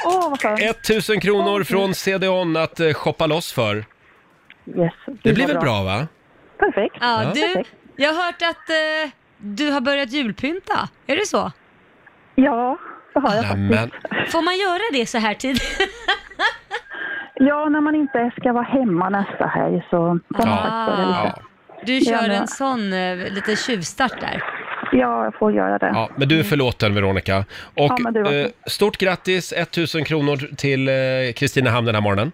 G: Åh, vad skönt.
A: 1000 kronor från CDON att eh, shoppa loss för.
G: Yes.
A: Det
G: var
A: blir väl bra va?
G: Perfekt.
B: Ja,
A: Ja.
B: du, jag har hört att eh, du har börjat julpynta. Är det så?
G: Ja, det har jag faktiskt.
A: Nämen.
B: Får man göra det så här tidigt?
G: Ja, när man inte ska vara hemma nästa helg så kan man
A: Ja.
G: faktiskt börja lite.
A: Ja.
B: Du kör
G: men-
B: en sån eh, lite tjuvstart där.
G: Ja, jag får göra det. Mm.
A: ja, men du är förlåten Veronica. Och
G: Ja, men du var-
A: eh, stort grattis 1000 kronor till eh, Kristinehamn den här morgonen.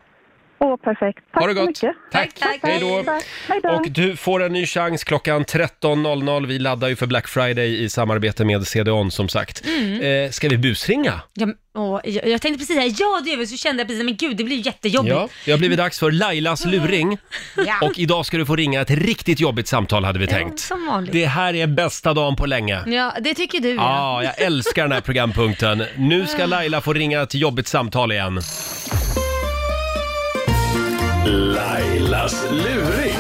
G: Åh, perfekt. Tack
A: ha det
G: så
A: gott!
G: mycket.
A: Tack!
B: Tack, tack.
A: Hej då!
G: Tack. Hej då.
A: Och du får en ny chans klockan 13.00. Vi laddar ju för Black Friday i samarbete med CDON som sagt. Eh, ska vi busringa?
B: Mm. Ja, men- åh, jag, jag tänkte precis säga ja, det gör vi, så kände jag precis men gud, det blir ju jättejobbigt.
A: Ja, det har blivit dags för Lailas luring. Och idag ska du få ringa ett riktigt jobbigt samtal hade vi
B: Ja,
A: tänkt.
B: Som vanligt.
A: Det här är bästa dagen på länge.
B: Ja, det tycker du
A: Ja,
B: ja.
A: jag älskar den här programpunkten. Nu ska Laila få ringa ett jobbigt samtal igen.
D: Lailas luring.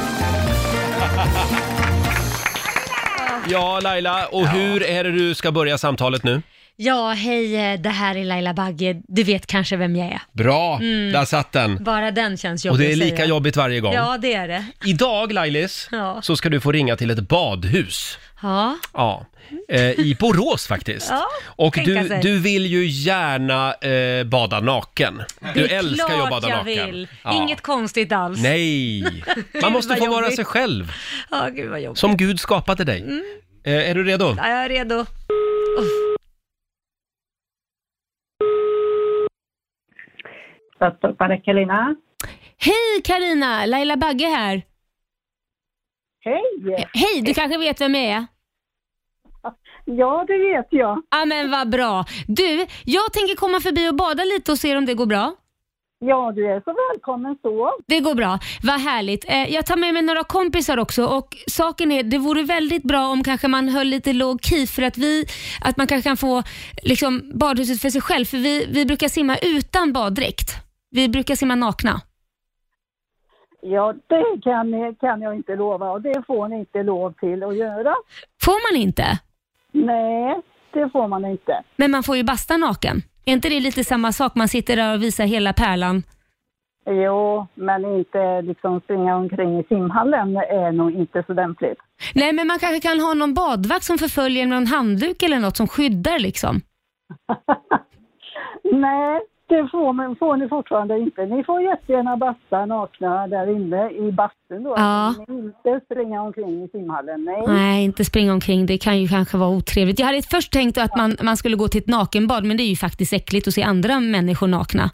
A: Ja, Laila, och hur är det du ska börja samtalet nu?
B: Ja, hej, eh, det här är Laila Bagge. Du vet kanske vem jag är.
A: Bra, där satt den.
B: Bara den känns jobbig
A: Och det är
B: att
A: lika
B: säga.
A: Mm. jobbigt varje gång.
B: Ja, det är det.
A: Idag, Lailis,
B: Ja.
A: så ska du få ringa till ett badhus.
B: Ja,
A: Ja, eh, i Borås faktiskt.
B: Ja,
A: och
B: tänka
A: du,
B: sig.
A: du vill ju gärna eh, bada naken. Du
B: det är
A: älskar ju att
B: klart
A: bada
B: jag
A: naken.
B: vill.
A: Ja.
B: Inget konstigt alls.
A: Nej, man måste
B: vad
A: få vara
B: jobbigt.
A: sig själv,
B: Ja, gud vad jobbigt. Mm.
A: som Gud skapade dig. Eh, är du redo?
B: Ja, jag är redo. Uff.
G: Var det Carolina?
H: Hej Karina, Laila Bagge här.
G: Hej!
H: Hej, du kanske vet vem jag är?
G: Ja, det vet jag.
H: Ja men vad bra. Du, jag tänker komma förbi och bada lite och se om det går bra.
G: Ja, du är så välkommen så.
H: Det går bra, vad härligt. Eh, Jag tar med mig några kompisar också och saken är, det vore väldigt bra om kanske man höll lite låg key för att vi, att man kanske kan få liksom badhuset för sig själv för vi, vi brukar simma utan baddräkt. Vi brukar simma nakna.
G: Ja, det kan, kan jag inte lova och det får ni inte lov till att göra.
H: Får man inte?
G: Nej, det får man inte.
H: Men man får ju basta naken. Är inte det lite samma sak? Man sitter där och visar hela pärlan.
G: Jo, men inte liksom springa omkring i simhallen är nog inte så lämpligt.
H: Nej, men man kanske kan ha någon badvakt som förföljer med någon handduk eller något som skyddar liksom.
G: Nej, det får, man, får ni fortfarande inte. Ni får jättegärna basta nakna där inne i bastun då.
H: Ja.
G: Men Inte springa omkring i simhallen, nej.
H: Nej, inte springa omkring. Det kan ju kanske vara otrevligt. Jag hade först tänkt att man, man skulle gå till ett nakenbad, men det är ju faktiskt äckligt att se andra människor nakna.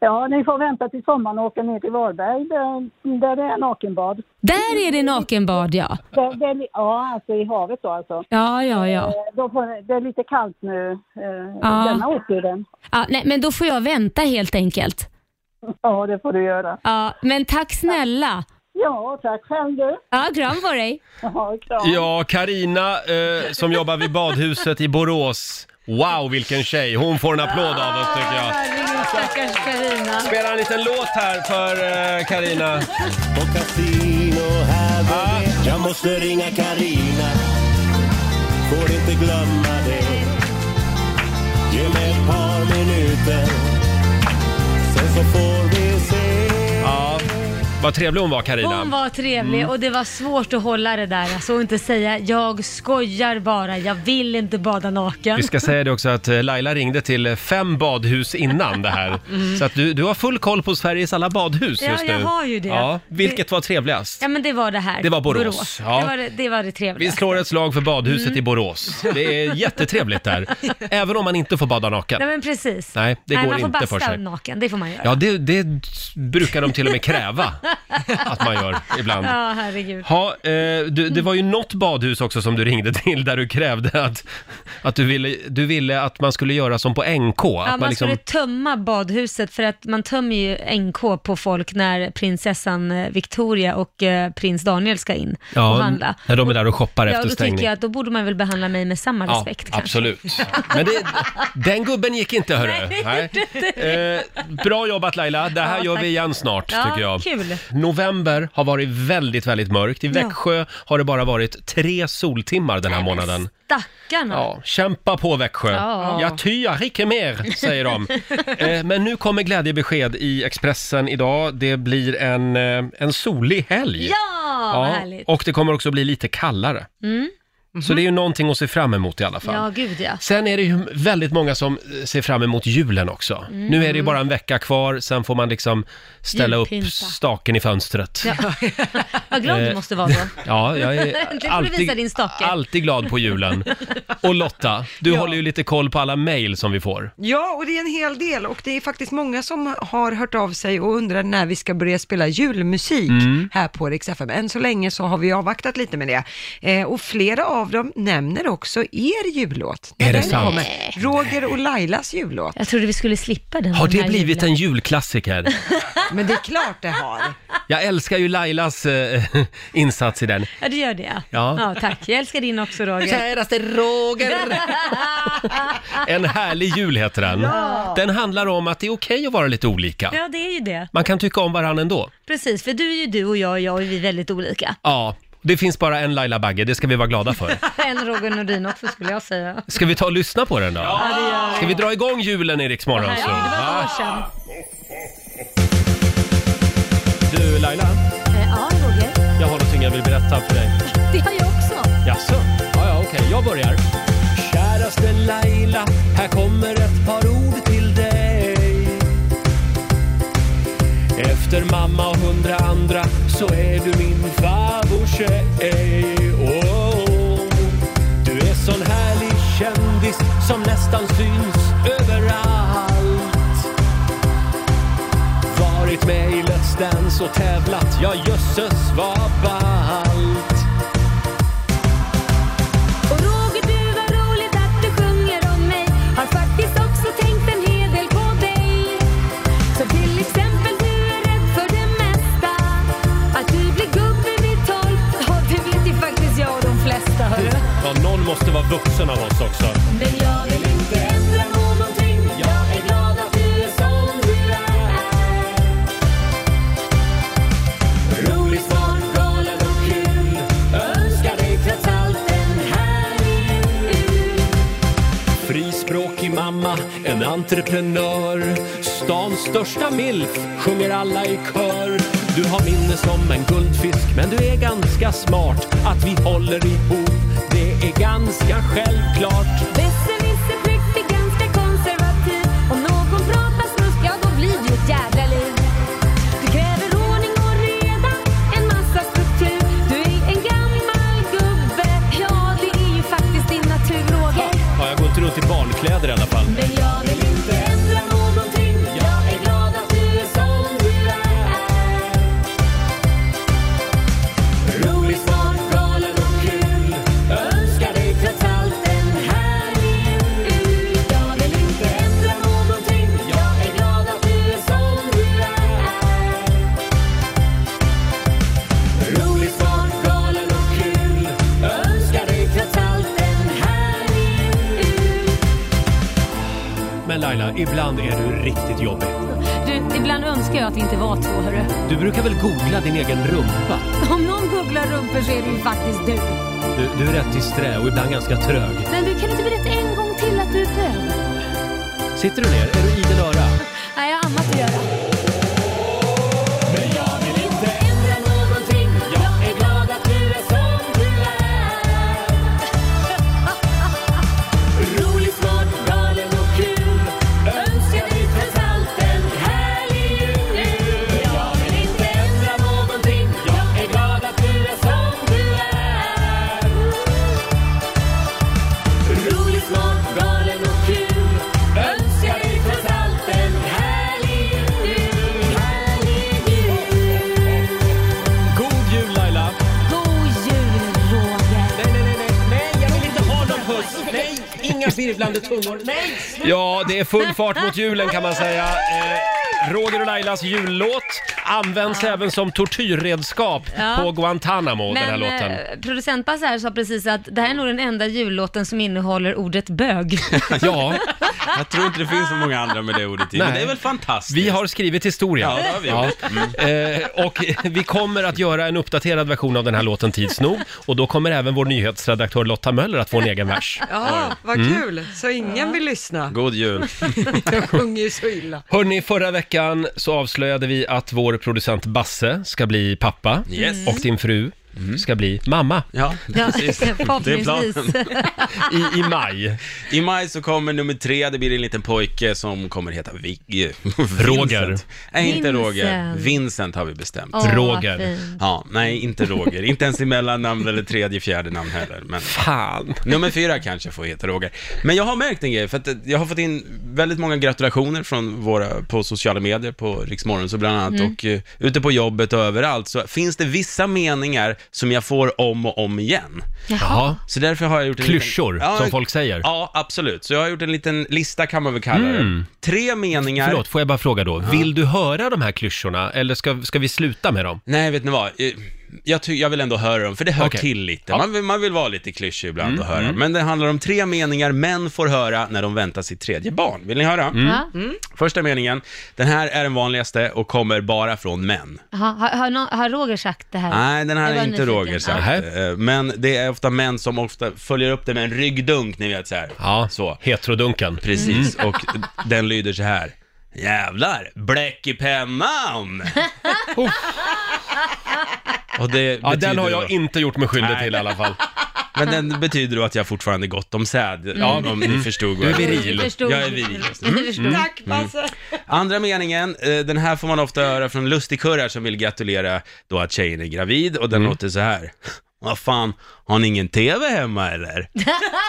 G: Ja, ni får vänta till sommaren och åka ner till Varberg där, där det är nakenbad.
H: Där är det nakenbad, ja.
G: Där, där, ja, alltså i havet då alltså.
H: Ja, ja, ja.
G: Eh, Då får, ni- det är lite kallt nu eh,
H: Ja.
G: denna årstiden.
H: ja nej, men då får jag vänta helt enkelt.
G: Ja, det får du göra.
H: Ja, men tack snälla.
G: Ja, tack själv du.
H: Ja, kram på dig.
G: Ja, kram.
A: Ja, Karina eh, som jobbar vid badhuset i Borås. Wow, vilken tjej! Hon får en applåd av oss tycker jag.
B: Herregud, stackars Carina.
A: Spela en liten låt här för eh, Karina.
I: På kasino här bredvid. Jag måste ringa Karina. Får inte glömma det. Ge mig ett par minuter. Sen så får vi se.
A: Ja, vad trevlig hon var Karina.
B: Hon var trevlig
A: Mm.
B: och det var svårt att hålla det där. Alltså och inte säga jag skojar bara, jag vill inte bada naken.
A: Vi ska säga det också att eh, Laila ringde till eh, fem badhus innan det här. Så att du, du har full koll på Sveriges alla badhus
B: Mm. Ja,
A: just nu.
B: jag har ju det.
A: Ja, vilket var trevligast?
B: Ja men det var det här.
A: Det var Borås, ja.
B: Det, var det, det var det trevliga.
A: Vi slår ett slag för badhuset
B: Mm.
A: i Borås. Det är jättetrevligt där. Även om man inte får bada naken.
B: Nej men precis.
A: Nej, det går
B: man får
A: inte
B: basta
A: för sig.
B: naken, det får man göra.
A: Ja, det, det brukar de till och med kräva att man gör ibland.
B: Ja, herregud.
A: Ha, eh, du, det var ju något badhus också som du ringde till där du krävde att, att du, ville, du ville att man skulle göra som på NK.
B: Ja,
A: att liksom-
B: man, skulle tömma badhuset för att man tömmer ju NK på folk när prinsessan eh, Victoria och eh, prins Daniel ska in och
A: ja,
B: handla.
A: när de är där och shoppar
B: Ja,
A: efter
B: då tycker
A: stängning.
B: jag att då borde man väl behandla mig med samma respekt kanske.
A: absolut. Men det, den gubben gick inte hörru. Nej. Eh, bra jobbat Laila, det här
B: Ja,
A: gör
B: tack.
A: vi igen snart
B: Ja,
A: tycker jag.
B: kul.
A: November har varit väldigt, väldigt mörkt. I Växjö har det bara varit tre soltimmar den här månaden.
B: Stackarna.
A: Ja, kämpa på Växjö.
B: Ja.
A: Jag tyar icke mer, säger de. eh, men nu kommer glädjebesked i Expressen idag. Det blir en, eh, en solig helg.
B: Ja, vad härligt. Mhm.
A: och det kommer också bli lite kallare. Så det är ju någonting att se fram emot i alla fall.
B: Mm. Ja, gud ja.
A: Sen är det ju väldigt många som eh, ser fram emot julen också. Nu är det ju bara en vecka kvar, sen får man liksom ställa upp
B: Mm. Julpynta.
A: staken i fönstret. Ja,
B: Vad glad
A: Eh,
B: du måste vara då.
A: jag är
B: får du visa din
A: alltid,
B: stake.
A: alltid glad på julen. Och Lotta, du håller ju lite koll på alla mejl som vi får.
C: Ja, och det är en hel del och det är faktiskt många som har hört av sig och undrar när vi ska börja spela julmusik
A: Mm.
C: här på Rix FM. Än så länge så har vi avvaktat lite med det. Eh, och flera av dem nämner också er jullåt. När
A: Är det
C: den
A: sant?
C: Roger och Lailas jullåt.
B: Jag trodde vi skulle slippa den.
A: Har
B: den
A: det
B: här
A: blivit
B: julen.
A: en julklassiker?
C: Men det är klart det har.
A: Jag älskar ju Lailas eh, insats i den.
B: Ja, det gör det ja.
A: Ja.
B: ja. tack. Jag älskar din också Roger.
A: Käraste Roger! En härlig jul heter den. Den handlar om att det är okej att vara lite olika.
B: Ja, det är ju det.
A: Man kan tycka om varandra ändå.
B: Precis, för du är ju du och jag och jag och vi är väldigt olika.
A: Ja, det finns bara en Laila Bagge, det ska vi vara glada för.
B: En Roger Nordin också skulle jag säga.
A: Ska vi ta och lyssna på den då? Ska vi dra igång julen i Rix Morgon
B: Herregud,
A: så?
B: det var några år sedan.
A: Du Laila,
B: Eh, Ja, Roger.
A: jag har någonting jag vill berätta för dig.
B: Det har jag också.
A: Jaså? Ja, ja, okej, jag börjar. Käraste Laila, här kommer ett par ord till dig. Efter mamma och hundra andra så är du min favorittjej. Oh, du är sån härlig kändis som nästan syns överallt. Varit med i Let's Dance och tävlat, ja jösses vad ballt.
H: Och Roger, du var roligt att du sjunger om mig. Har faktiskt också tänkt en hel del på dig. Så till exempel, du är rädd för det mesta. Att du blir gubbe vid tolv. Ja, det vet ju faktiskt jag och de flesta, hörru.
A: Ja, någon måste vara vuxen av oss också.
H: Men jag vill inte ändra någonting. Jag är glad att du är som du är. Rolig, smart, galen och kul. Önskar dig trots allt en härlig jul.
A: Frispråkig mamma, en entreprenör. Stans största milf, sjunger alla i kör. Du har minne som en guldfisk, men du är ganska smart. Att vi håller ihop, det är ganska självklart.
H: Besserwisser präktig, ganska konservativ. Om någon bra
A: Men Laila, ibland är du riktigt jobbig.
H: Du, ibland önskar jag att vi inte var två, hörru.
A: Du brukar väl googla din egen rumpa?
H: Om någon googlar rumpor så är det ju faktiskt du.
A: Du, du är rätt disträ och ibland ganska trög.
H: Men du, kan du inte berätta en gång till att du är bög?
A: Sitter du ner? Är du idel öra?
H: Nej, jag har annat att göra.
A: God jul Laila!
H: God jul,
A: Nej,
H: Roger.
A: nej, nej, nej, nej, jag vill inte ha någon puss! Nej, inga virvlande tungor, nej! Ja, det är full fart mot julen kan man säga. Eh, Roger och Lailas jullåt används även som tortyrredskap
B: Ja.
A: på Guantanamo, den här
B: Men
A: låten.
B: eh, producent Basse här sa precis att det här är nog den enda jullåten som innehåller ordet bög.
A: Ja,
J: Jag tror inte det finns så många andra med det ordet i,
A: Nej.
J: men det är väl fantastiskt.
A: vi har skrivit historia.
J: Ja, det har vi Mm.
A: Eh, och vi kommer att göra en uppdaterad version av den här låten tids nog. Och då kommer även vår nyhetsredaktör Lotta Möller att få en egen vers.
C: Ja,
A: Mm.
C: vad kul. Så ingen vill lyssna.
J: God jul.
C: Jag sjunger ju så illa.
A: Hörni, förra veckan så avslöjade vi att vår producent Basse ska bli pappa
J: Yes. Mm.
A: och din fru ska bli mamma
J: Ja,
B: Ja,
J: precis.
B: förhoppningsvis.
A: i, i maj.
J: I maj så kommer nummer tre, det blir en liten pojke som kommer heta Vic- Vincent.
A: Roger.
J: Nej, inte Roger.
B: Vincent.
J: Vincent har vi bestämt.
B: Åh, vad
A: Roger.
B: fint.
J: Ja, nej, inte Roger. inte ens i mellannamn eller tredje, fjärde namn heller. Men
A: Fan!
J: nummer fyra kanske får heta Roger. Men jag har märkt en grej, för att jag har fått in väldigt många gratulationer från våra, på sociala medier, på Riksmorgon så bland annat,
B: Mm.
J: och uh, ute på jobbet och överallt, så finns det vissa meningar som jag får om och om igen.
A: Jaha.
J: Så därför har jag gjort en
A: Klyschor,
J: liten...
A: som folk säger.
J: Ja, absolut. Så jag har gjort en liten lista kan man väl kalla det. Tre meningar.
A: Mm. Förlåt, får jag bara fråga då. Vill du höra de här klyschorna eller ska, ska vi sluta med dem?
J: Nej, vet ni vad? Eh, Jag, ty- jag vill ändå höra dem, för det hör
A: Okej.
J: till lite.
A: Ja. Mm,
J: Man, vill, man vill vara lite klyschig ibland och höra. Men det handlar om tre meningar män får höra när de väntar sitt tredje barn. Vill ni höra?
A: Mm.
B: Ja.
J: Första meningen. Den här är den vanligaste och kommer bara från män.
B: Jaha, Har, har, nå- har Roger sagt det här?
J: Nej, den här
B: Jag var
J: är inte
B: nyfiken.
J: Roger sagt.
A: Nej.
J: Eh, Men det är ofta män som ofta följer upp det med en ryggdunk, ni vet så här.
A: Ja,
J: Så.
A: heterodunken. Mm.
J: Precis, och den lyder så här. Jävlar, bläck i pennan! och det
A: Ja, den
J: betyder då-
A: har jag inte gjort mig skyldig
J: Nej.
A: till i alla fall.
J: Men den betyder då att jag fortfarande är gott om säd. Ja, om
B: Mm.
J: ni förstod vad
A: Mm. Du är
J: jag-
A: viril. Mm.
B: Vi förstod. Mm,
J: Jag är Mm, viril.
B: Vi förstod.
C: Tack Basse.
J: Andra meningen, eh, den här får man ofta höra från lustigkurrar som vill gratulera då att tjejen är gravid och
A: Mm.
J: den låter så här. Vad fan, har ni ingen TV hemma eller?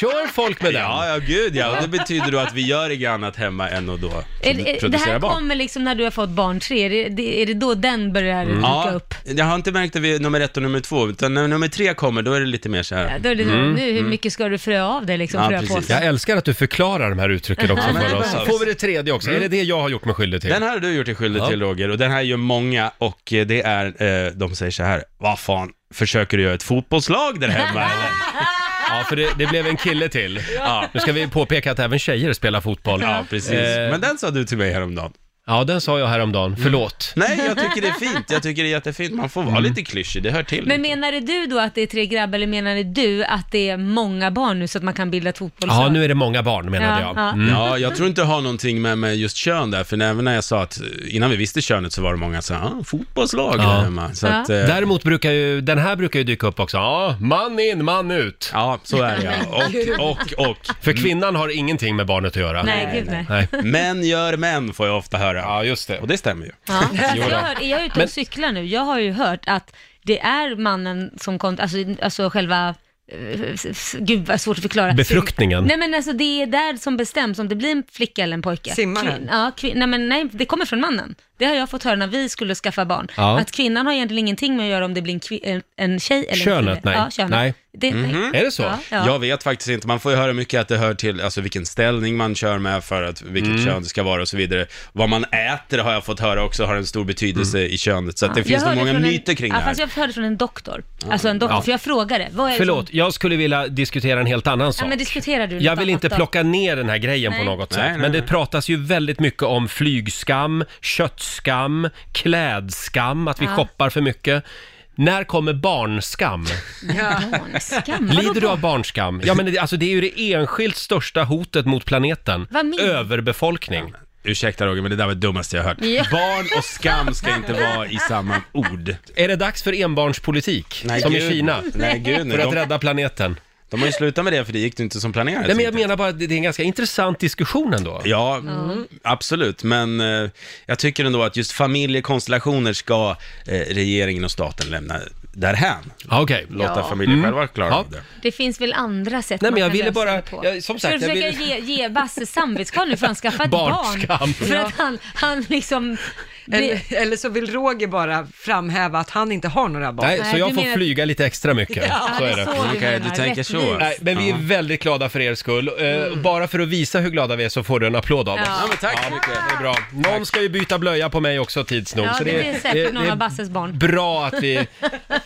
A: Kör folk med den!
J: Ja, ja gud ja. Och det betyder då att vi gör inget annat hemma än att då
B: Är, är, det
J: producera
B: här
J: barn.
B: kommer liksom när du har fått barn tre, är det, det, är det då den börjar
A: Mm.
B: dyka upp?
J: jag har inte märkt det vid nummer ett och nummer två, utan när nummer tre kommer, då är det lite mer så
B: Ja,
J: här. Mm.
B: Då är det nu, hur mycket ska du frö av dig liksom?
J: Ja,
B: frö på
J: precis.
A: Mm. Jag älskar att du förklarar de här uttrycken också
J: Ja, men
A: för
J: det
A: oss.
J: behövs.
A: Får vi det tredje också? Är det det jag har gjort mig skyldig till?
J: Den här har du gjort dig skyldig
A: Ja.
J: till Roger, och den här gör många, och eh, det är, eh, de säger så här, vad fan, försöker du göra ett fotbollslag där hemma eller?
A: Ja, för det, det blev en kille till.
J: Ja.
A: Nu ska vi påpeka att även tjejer spelar fotboll.
J: Ja, precis.
A: Eh,
J: Men den sa du till mig häromdagen. Mm.
A: Ja, den sa jag häromdagen. Förlåt. Mm.
J: Nej, jag tycker det är fint. Jag tycker det är jättefint. Man får vara lite klyschig, det hör till.
B: Men menade du då att det är tre grabbar eller menade du att det är många barn nu så att man kan bilda ett fotbollslag?
A: Ja, nu är det många barn menade
B: Ja,
A: jag.
B: ja.
A: Mm.
J: Ja, jag tror inte det har någonting med, med just kön där, för även när jag sa att, eh, innan vi visste könet så var det många som sa, ah, fotbollslag
A: Ja.
J: där hemma. Så
B: Ja.
J: att, eh,
A: Däremot brukar ju, den här brukar ju dyka upp också. Ja, man in, man ut.
J: ja, så är det ja. Och, och, och.
A: För kvinnan har ingenting med barnet att göra.
B: Nej, gud nej.
A: Nej.
J: Män gör män, får jag ofta höra. Ja, just det. Och det stämmer ju.
B: Ja. Alltså, Jag,
A: då.
B: hör, är jag ute och
A: Men-
B: cyklar nu? Jag har ju hört att det är mannen som kom, alltså, alltså själva eh, s- s- Gud vad svårt att förklara.
A: Befruktningen.
B: Nej men alltså det är där som bestäms om det blir en flicka eller en pojke.
C: Simmaren.
B: Kvin- ja, kvin- nej men nej, det kommer från mannen. Det Det har jag fått höra när vi skulle skaffa barn.
A: Ja.
B: Att kvinnan har egentligen ingenting med att göra om det blir en, kvi- en, en tjej eller en
J: Könet,
B: kille.
J: nej.
B: Ja, könet.
J: Nej.
B: Det,
J: Mhm.
B: nej. Ja, ja.
J: Jag vet faktiskt inte. Man får ju höra mycket att det hör till alltså, vilken ställning man kör med för att vilket
A: Mm.
J: kön det ska vara och så vidare. Vad man äter har jag fått höra också har en stor betydelse
A: Mm.
J: i könet. Så att det
B: Ja.
J: finns
B: Jag
J: nog många
B: hörde från en-
J: myter kring
B: ja,
J: det här.
B: Fast jag hörde från en doktor. Alltså en doktor,
A: Ja.
B: för jag frågade. Vad är det
A: Förlåt,
B: Som,
A: jag skulle vilja diskutera en helt annan
B: ja,
A: sak.
B: men diskuterar du något
A: Jag vill
B: annat
A: inte
B: då?
A: plocka ner den här grejen på
B: Nej.
A: något
B: Nej,
A: sätt,
B: nej,
A: men det
B: nej.
A: pratas ju väldigt mycket om flygskam, köttskam, klädskam, att vi
B: Ja.
A: shoppar för mycket. När kommer barnskam?
B: Barnskam?
A: Lider du av barnskam? Ja, men det, alltså, det är ju det enskilt största hotet mot planeten.
B: Vad menar-
A: Överbefolkning.
J: Ursäkta Roger, men det där var det dummaste jag hört.
B: Ja.
J: Barn och skam ska inte vara i samma ord.
A: Är det dags för enbarnspolitik?
J: Nej,
A: som
J: gud,
A: i Kina?
J: nej, gud, nej,
A: för att
J: de-
A: rädda planeten?
J: De har ju slutat med det för det gick ju inte som planerat.
A: Nej, men jag menar bara att det det är en ganska intressant diskussion ändå.
J: Ja,
A: Mm.
J: absolut. Men eh, jag tycker ändå att just familjekonstellationer ska eh, regeringen och staten lämna därhän.
A: Okej.
J: Låta
B: Ah, Ja.
J: familjen
A: Mm.
J: själva klara av det.
B: Det finns väl andra sätt
A: Nej, men
B: man
A: jag
B: kan
A: ville
B: lösa
A: bara-
B: det på.
A: jag- som
B: Ska
A: sagt,
B: du
A: jag
B: försöka ge, ge Basse samvetskval nu för han skaffat barn?
C: Barnskam.
B: För att han, han liksom...
C: Eller, eller så vill Roger bara framhäva att han inte har några barn.
A: Nej, så jag får flyga lite extra mycket.
C: Ja,
A: så
C: det
A: är
C: är
A: det.
C: så vi Okej, menar. du tänker så. Rättvist.
A: Nej, men vi är
C: Ja.
A: väldigt glada för er skull. Eh, Bara för att visa hur glada vi är så får du en applåd av oss.
B: Mm. Ja. Ja, men tack så
A: mycket. Det är bra. Någon ska ju byta blöja på mig också tids nog.
B: Ja,
A: så
B: det blir säkert
A: det-
B: någon
A: det är
B: av Basses barn.
A: Bra att, vi,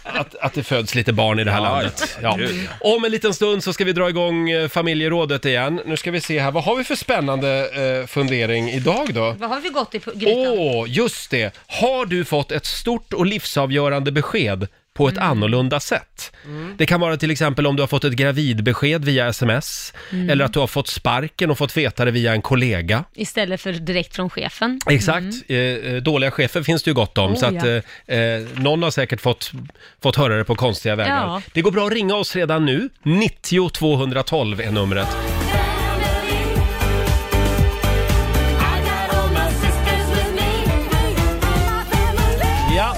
A: att, att det föds lite barn i det här
J: Ja,
A: landet.
J: ja.
A: Ja. Om en liten stund så ska vi dra igång eh, familjerådet igen. Nu ska vi se här, vad har vi för spännande eh, fundering idag då?
B: Vad har vi gått i pu- grytan?
A: Åh, just det! Har du fått ett stort och livsavgörande besked på
B: Mm.
A: ett annorlunda sätt? Det kan vara till exempel om du har fått ett gravidbesked via sms,
B: Mm.
A: eller att du har fått sparken och fått veta det via en kollega.
B: Istället för direkt från chefen.
A: Exakt, Eh, eh, dåliga chefer finns det ju gott om,
B: Mm. Oh,
A: så att
B: ja.
A: eh, eh, någon har säkert fått, fått höra det på konstiga vägar.
B: Ja.
A: Det går bra att ringa oss redan nu, 90 212 är numret. Ja.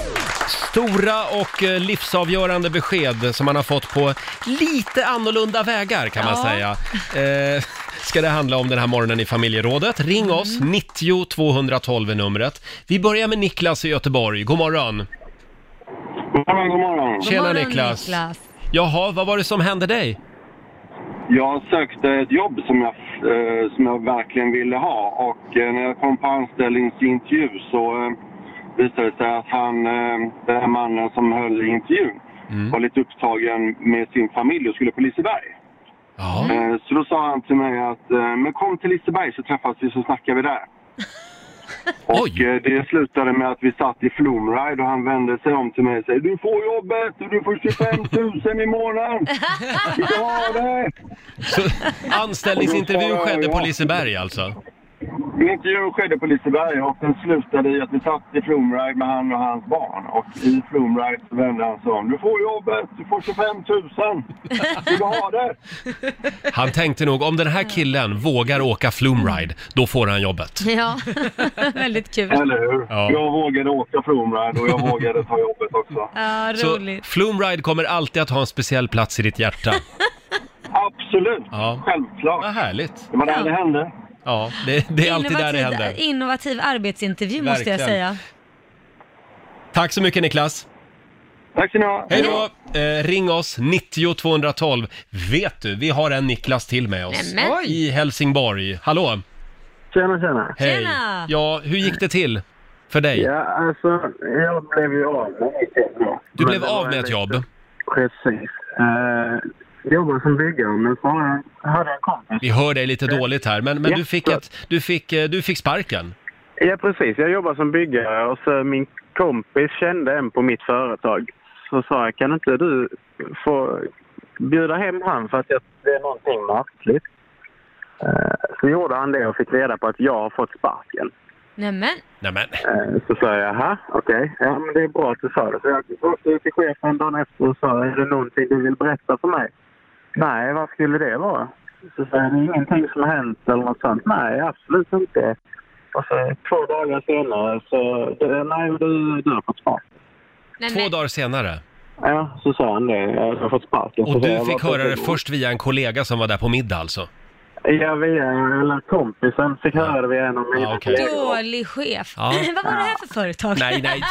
A: Stora och eh, livsavgörande besked som man har fått på lite annorlunda vägar kan man
B: Ja.
A: säga. Eh, ska det handla om den här morgonen i familjerådet. Ring oss, 90 212 är numret. Vi börjar med Niklas i Göteborg. God morgon!
K: God morgon, god morgon.
A: Tjena Niklas. Jaha, vad var det som hände dig?
K: Jag sökte ett jobb som jag, eh, som jag verkligen ville ha och eh, när jag kom på anställningsintervju så eh, visade det sig att han, eh, den här mannen som höll i intervjun var lite upptagen med sin familj och skulle på Liseberg. Eh, Så då sa han till mig att eh, men kom till Liseberg så träffas vi så snackar vi där. Och eh, det slutade med att vi satt i Flumride och han vände sig om till mig och sa du får jobbet och du får 25 000 i månaden. Du kan ha det.
A: Så anställningsintervjun skedde på Liseberg alltså?
K: Intervjun skedde på Liseberg och den slutade i att vi satt i Flumride med han och hans barn. Och i Flumride så vände han sig om. Du får jobbet, du får 25 000. Vill du ha det?
A: Han tänkte nog, om den här killen vågar åka Flumride, då får han jobbet.
B: Ja, väldigt kul.
K: Eller hur?
A: Ja.
K: Jag vågade åka Flumride och jag vågade ta jobbet också.
B: Ja,
A: Så
B: roligt.
A: Flumride kommer alltid att ha en speciell plats i ditt hjärta.
K: Absolut,
A: Ja.
K: självklart.
A: Vad härligt.
K: Det var där det hände.
A: Ja, det, det är alltid där det
B: Innovativ-
A: händer.
B: Innovativ arbetsintervju måste jag
A: Verkligen.
B: säga.
A: Tack så mycket Niklas.
K: Tack ska ni ha.
A: Hej då! Eh, ring oss, 90 212. Vet du, vi har en Niklas till med oss.
E: Nämen. Oj.
A: I Helsingborg. Hallå!
L: Tjena, tjena.
A: Hej!
E: Tjena.
A: Ja, hur gick det till för dig?
L: Ja, alltså jag blev ju av med mitt jobb.
A: Du blev
L: Men det var
A: av med ett
L: lite-
A: jobb.
L: Precis. Uh, jobbade som byggare, men så har jag- hade jag en kompis. Eh,
A: Vi hör dig lite dåligt här, men, men
L: Ja,
A: du, fick ett, du, fick, eh, du fick sparken.
L: Ja, precis. Jag jobbade som byggare och så min kompis kände en på mitt företag. Så sa jag, kan inte du få bjuda hem han för att jag, det är någonting märkligt? Eh, Så gjorde han det och fick reda på att jag har fått sparken.
B: Nämen.
A: Nämen.
L: Eh, Så sa jag, jaha, okej, ja men det är bra att du sa det. Så jag åkte ut till chefen dagen efter och sa, är det någonting du vill berätta för mig? Nej, vad skulle det vara? Så sa jag, det är ingenting som har hänt eller något sånt. Nej, absolut inte. Och så två dagar senare så, "Du, nej du, du har fått sparken.
A: Två dagar senare.
L: Ja, så sa han det, jag har fått sparken. Så
A: Och
L: sa jag,
A: du
L: "Vad
A: fick höra
L: tänker
A: det först via en kollega som var där på middag alltså?
L: Jag vet, eller kompisen fick höra det via en av mina kollegor.
B: Dålig chef.
A: Ja.
B: Vad var det här för företag?
A: Nej, nej.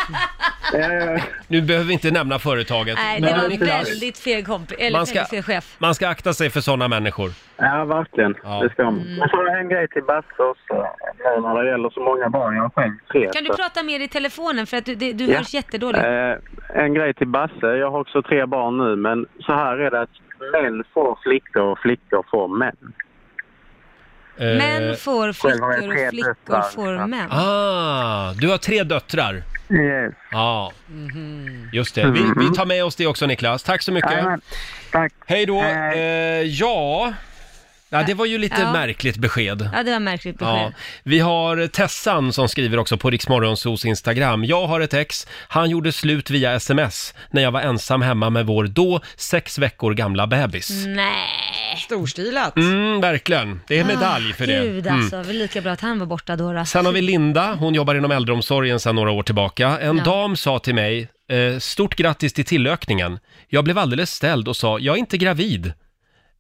L: Eh.
A: Nu behöver vi inte nämna företaget.
B: Nej, det
A: Men-
B: var en väldigt fel kompis, eller
A: Man ska-
B: väldigt fel chef.
A: Man ska akta sig för sådana människor.
L: Ja, verkligen. Det ska man.
B: Mm.
L: Och så en grej till Basse också, nu när det gäller så många barn. Jag har själv tre.
B: Kan du
L: så-
B: prata mer i telefonen för att du, det, du
L: Ja.
B: hörs jättedåligt.
L: Eh, en grej till Basse. Jag har också tre barn nu, men så här är det att män får flickor och flickor får män.
A: Eh.
B: Män får flickor och flickor får
L: liksom.
B: män.
A: Ah, du har tre döttrar.
L: Yes. Mhm.
A: Ja,
B: Mhm.
A: just det. Vi, vi tar med oss det också Niklas. Tack så mycket.
L: Jajamän. Tack.
A: Hej då. Eh, ja. ja, det var ju lite
B: Ja.
A: märkligt besked.
B: Ja, det var märkligt
A: Ja,
B: besked.
A: vi har Tessan som skriver också på Riksmorgonsos Instagram. Jag har ett ex, han gjorde slut via sms när jag var ensam hemma med vår då sex veckor gamla bebis.
B: Nej.
C: Storstilat.
A: Mm, verkligen. Det är medalj
B: Mm. Ah,
A: för det.
B: Gud
A: Mm.
B: alltså, det var lika bra att han var borta då. då.
A: Sen har vi Linda, hon jobbar inom äldreomsorgen sedan några år tillbaka. En
B: Ja.
A: dam sa till mig, eh, stort grattis till tillökningen. Jag blev alldeles ställd och sa, jag är inte gravid.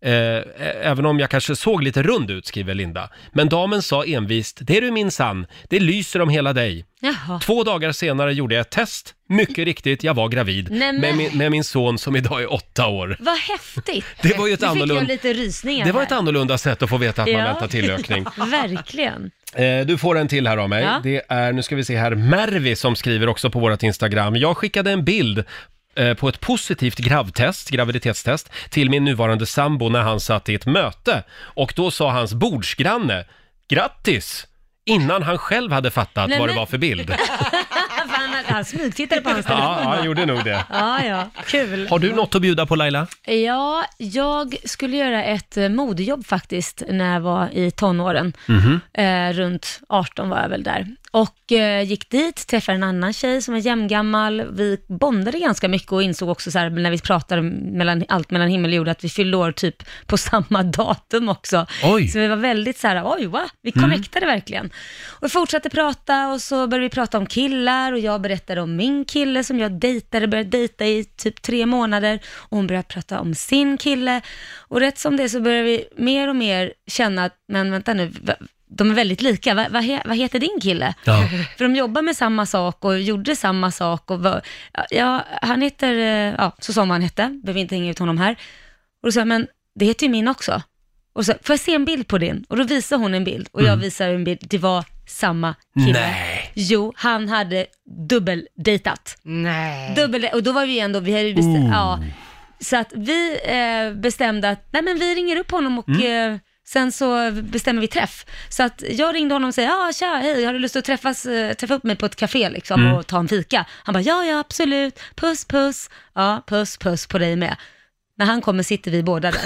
A: Eh, ä- även om jag kanske såg lite rund ut, skriver Linda. Men damen sa envist, det är du minsann, det lyser om hela dig.
B: Jaha.
A: Två dagar senare gjorde jag ett test, mycket riktigt, jag var gravid.
B: Nej, men-
A: Med, min, med min son som idag är åtta år.
B: Vad häftigt!
A: Det var ju ett
B: nu
A: annorlunda-
B: fick jag lite rysningar
A: Det var
B: här.
A: ett annorlunda sätt att få veta att man väntar tillökning.
B: Verkligen.
A: Eh, Du får en till här av mig.
B: Ja.
A: Det är, nu ska vi se här, Mervi som skriver också på vårt Instagram. Jag skickade en bild eh, på ett positivt gravtest, graviditetstest, till min nuvarande sambo när han satt i ett möte. Och då sa hans bordsgranne, grattis! Innan han själv hade fattat
B: Nej,
A: vad det
B: men-
A: var för bild.
B: Fan, han- han smygtittade på hans telefon.
A: Ja, ja, han gjorde nog det.
B: Ja, ja. Kul.
A: Har du något att bjuda på Laila?
B: Ja, jag skulle göra ett eh, modejobb faktiskt när jag var i tonåren.
J: Mhm.
B: Eh, runt 18 var jag väl där. Och eh, gick dit, träffade en annan tjej som är jämngammal. Vi bondade ganska mycket och insåg också så här, när vi pratade mellan, allt mellan himmel och jord, att vi fyllde år typ på samma datum också.
E: Oj.
B: Så vi var väldigt så här, oj, va? Vi
E: Mm.
B: connectade verkligen. Och vi fortsatte prata och så började vi prata om killar och jag berättade om min kille som jag dejtade, började dejta i typ tre månader. Och hon började prata om sin kille. Och rätt som det så började vi mer och mer känna att, men vänta nu, va- de är väldigt lika. Va- Vad he- vad heter din kille?
E: Ja.
B: För de jobbar med samma sak och gjorde samma sak. Och var, ja, han heter, eh, ja, så som han hette, behöver inte hänga ut honom här. Och då sa jag, men det heter ju min också. Och så, får jag se en bild på din? Och då visar hon en bild och jag
E: Mm.
B: visar en bild. Det var samma kille.
E: Nej.
B: Jo, han hade dubbeldejtat.
C: Nej.
B: Dubbel, och då var vi ändå, vi hade bestämt, ja. Så att vi eh, bestämde att, nej men vi ringer upp honom och eh, sen så bestämmer vi träff. Så att jag ringde honom och sa, ja tja, hej, har du lust att träffas, eh, träffa upp mig på ett café liksom
E: Mm.
B: och ta en fika? Han bara, ja ja absolut, puss puss, ja puss puss på dig med. När han kommer sitter vi båda där.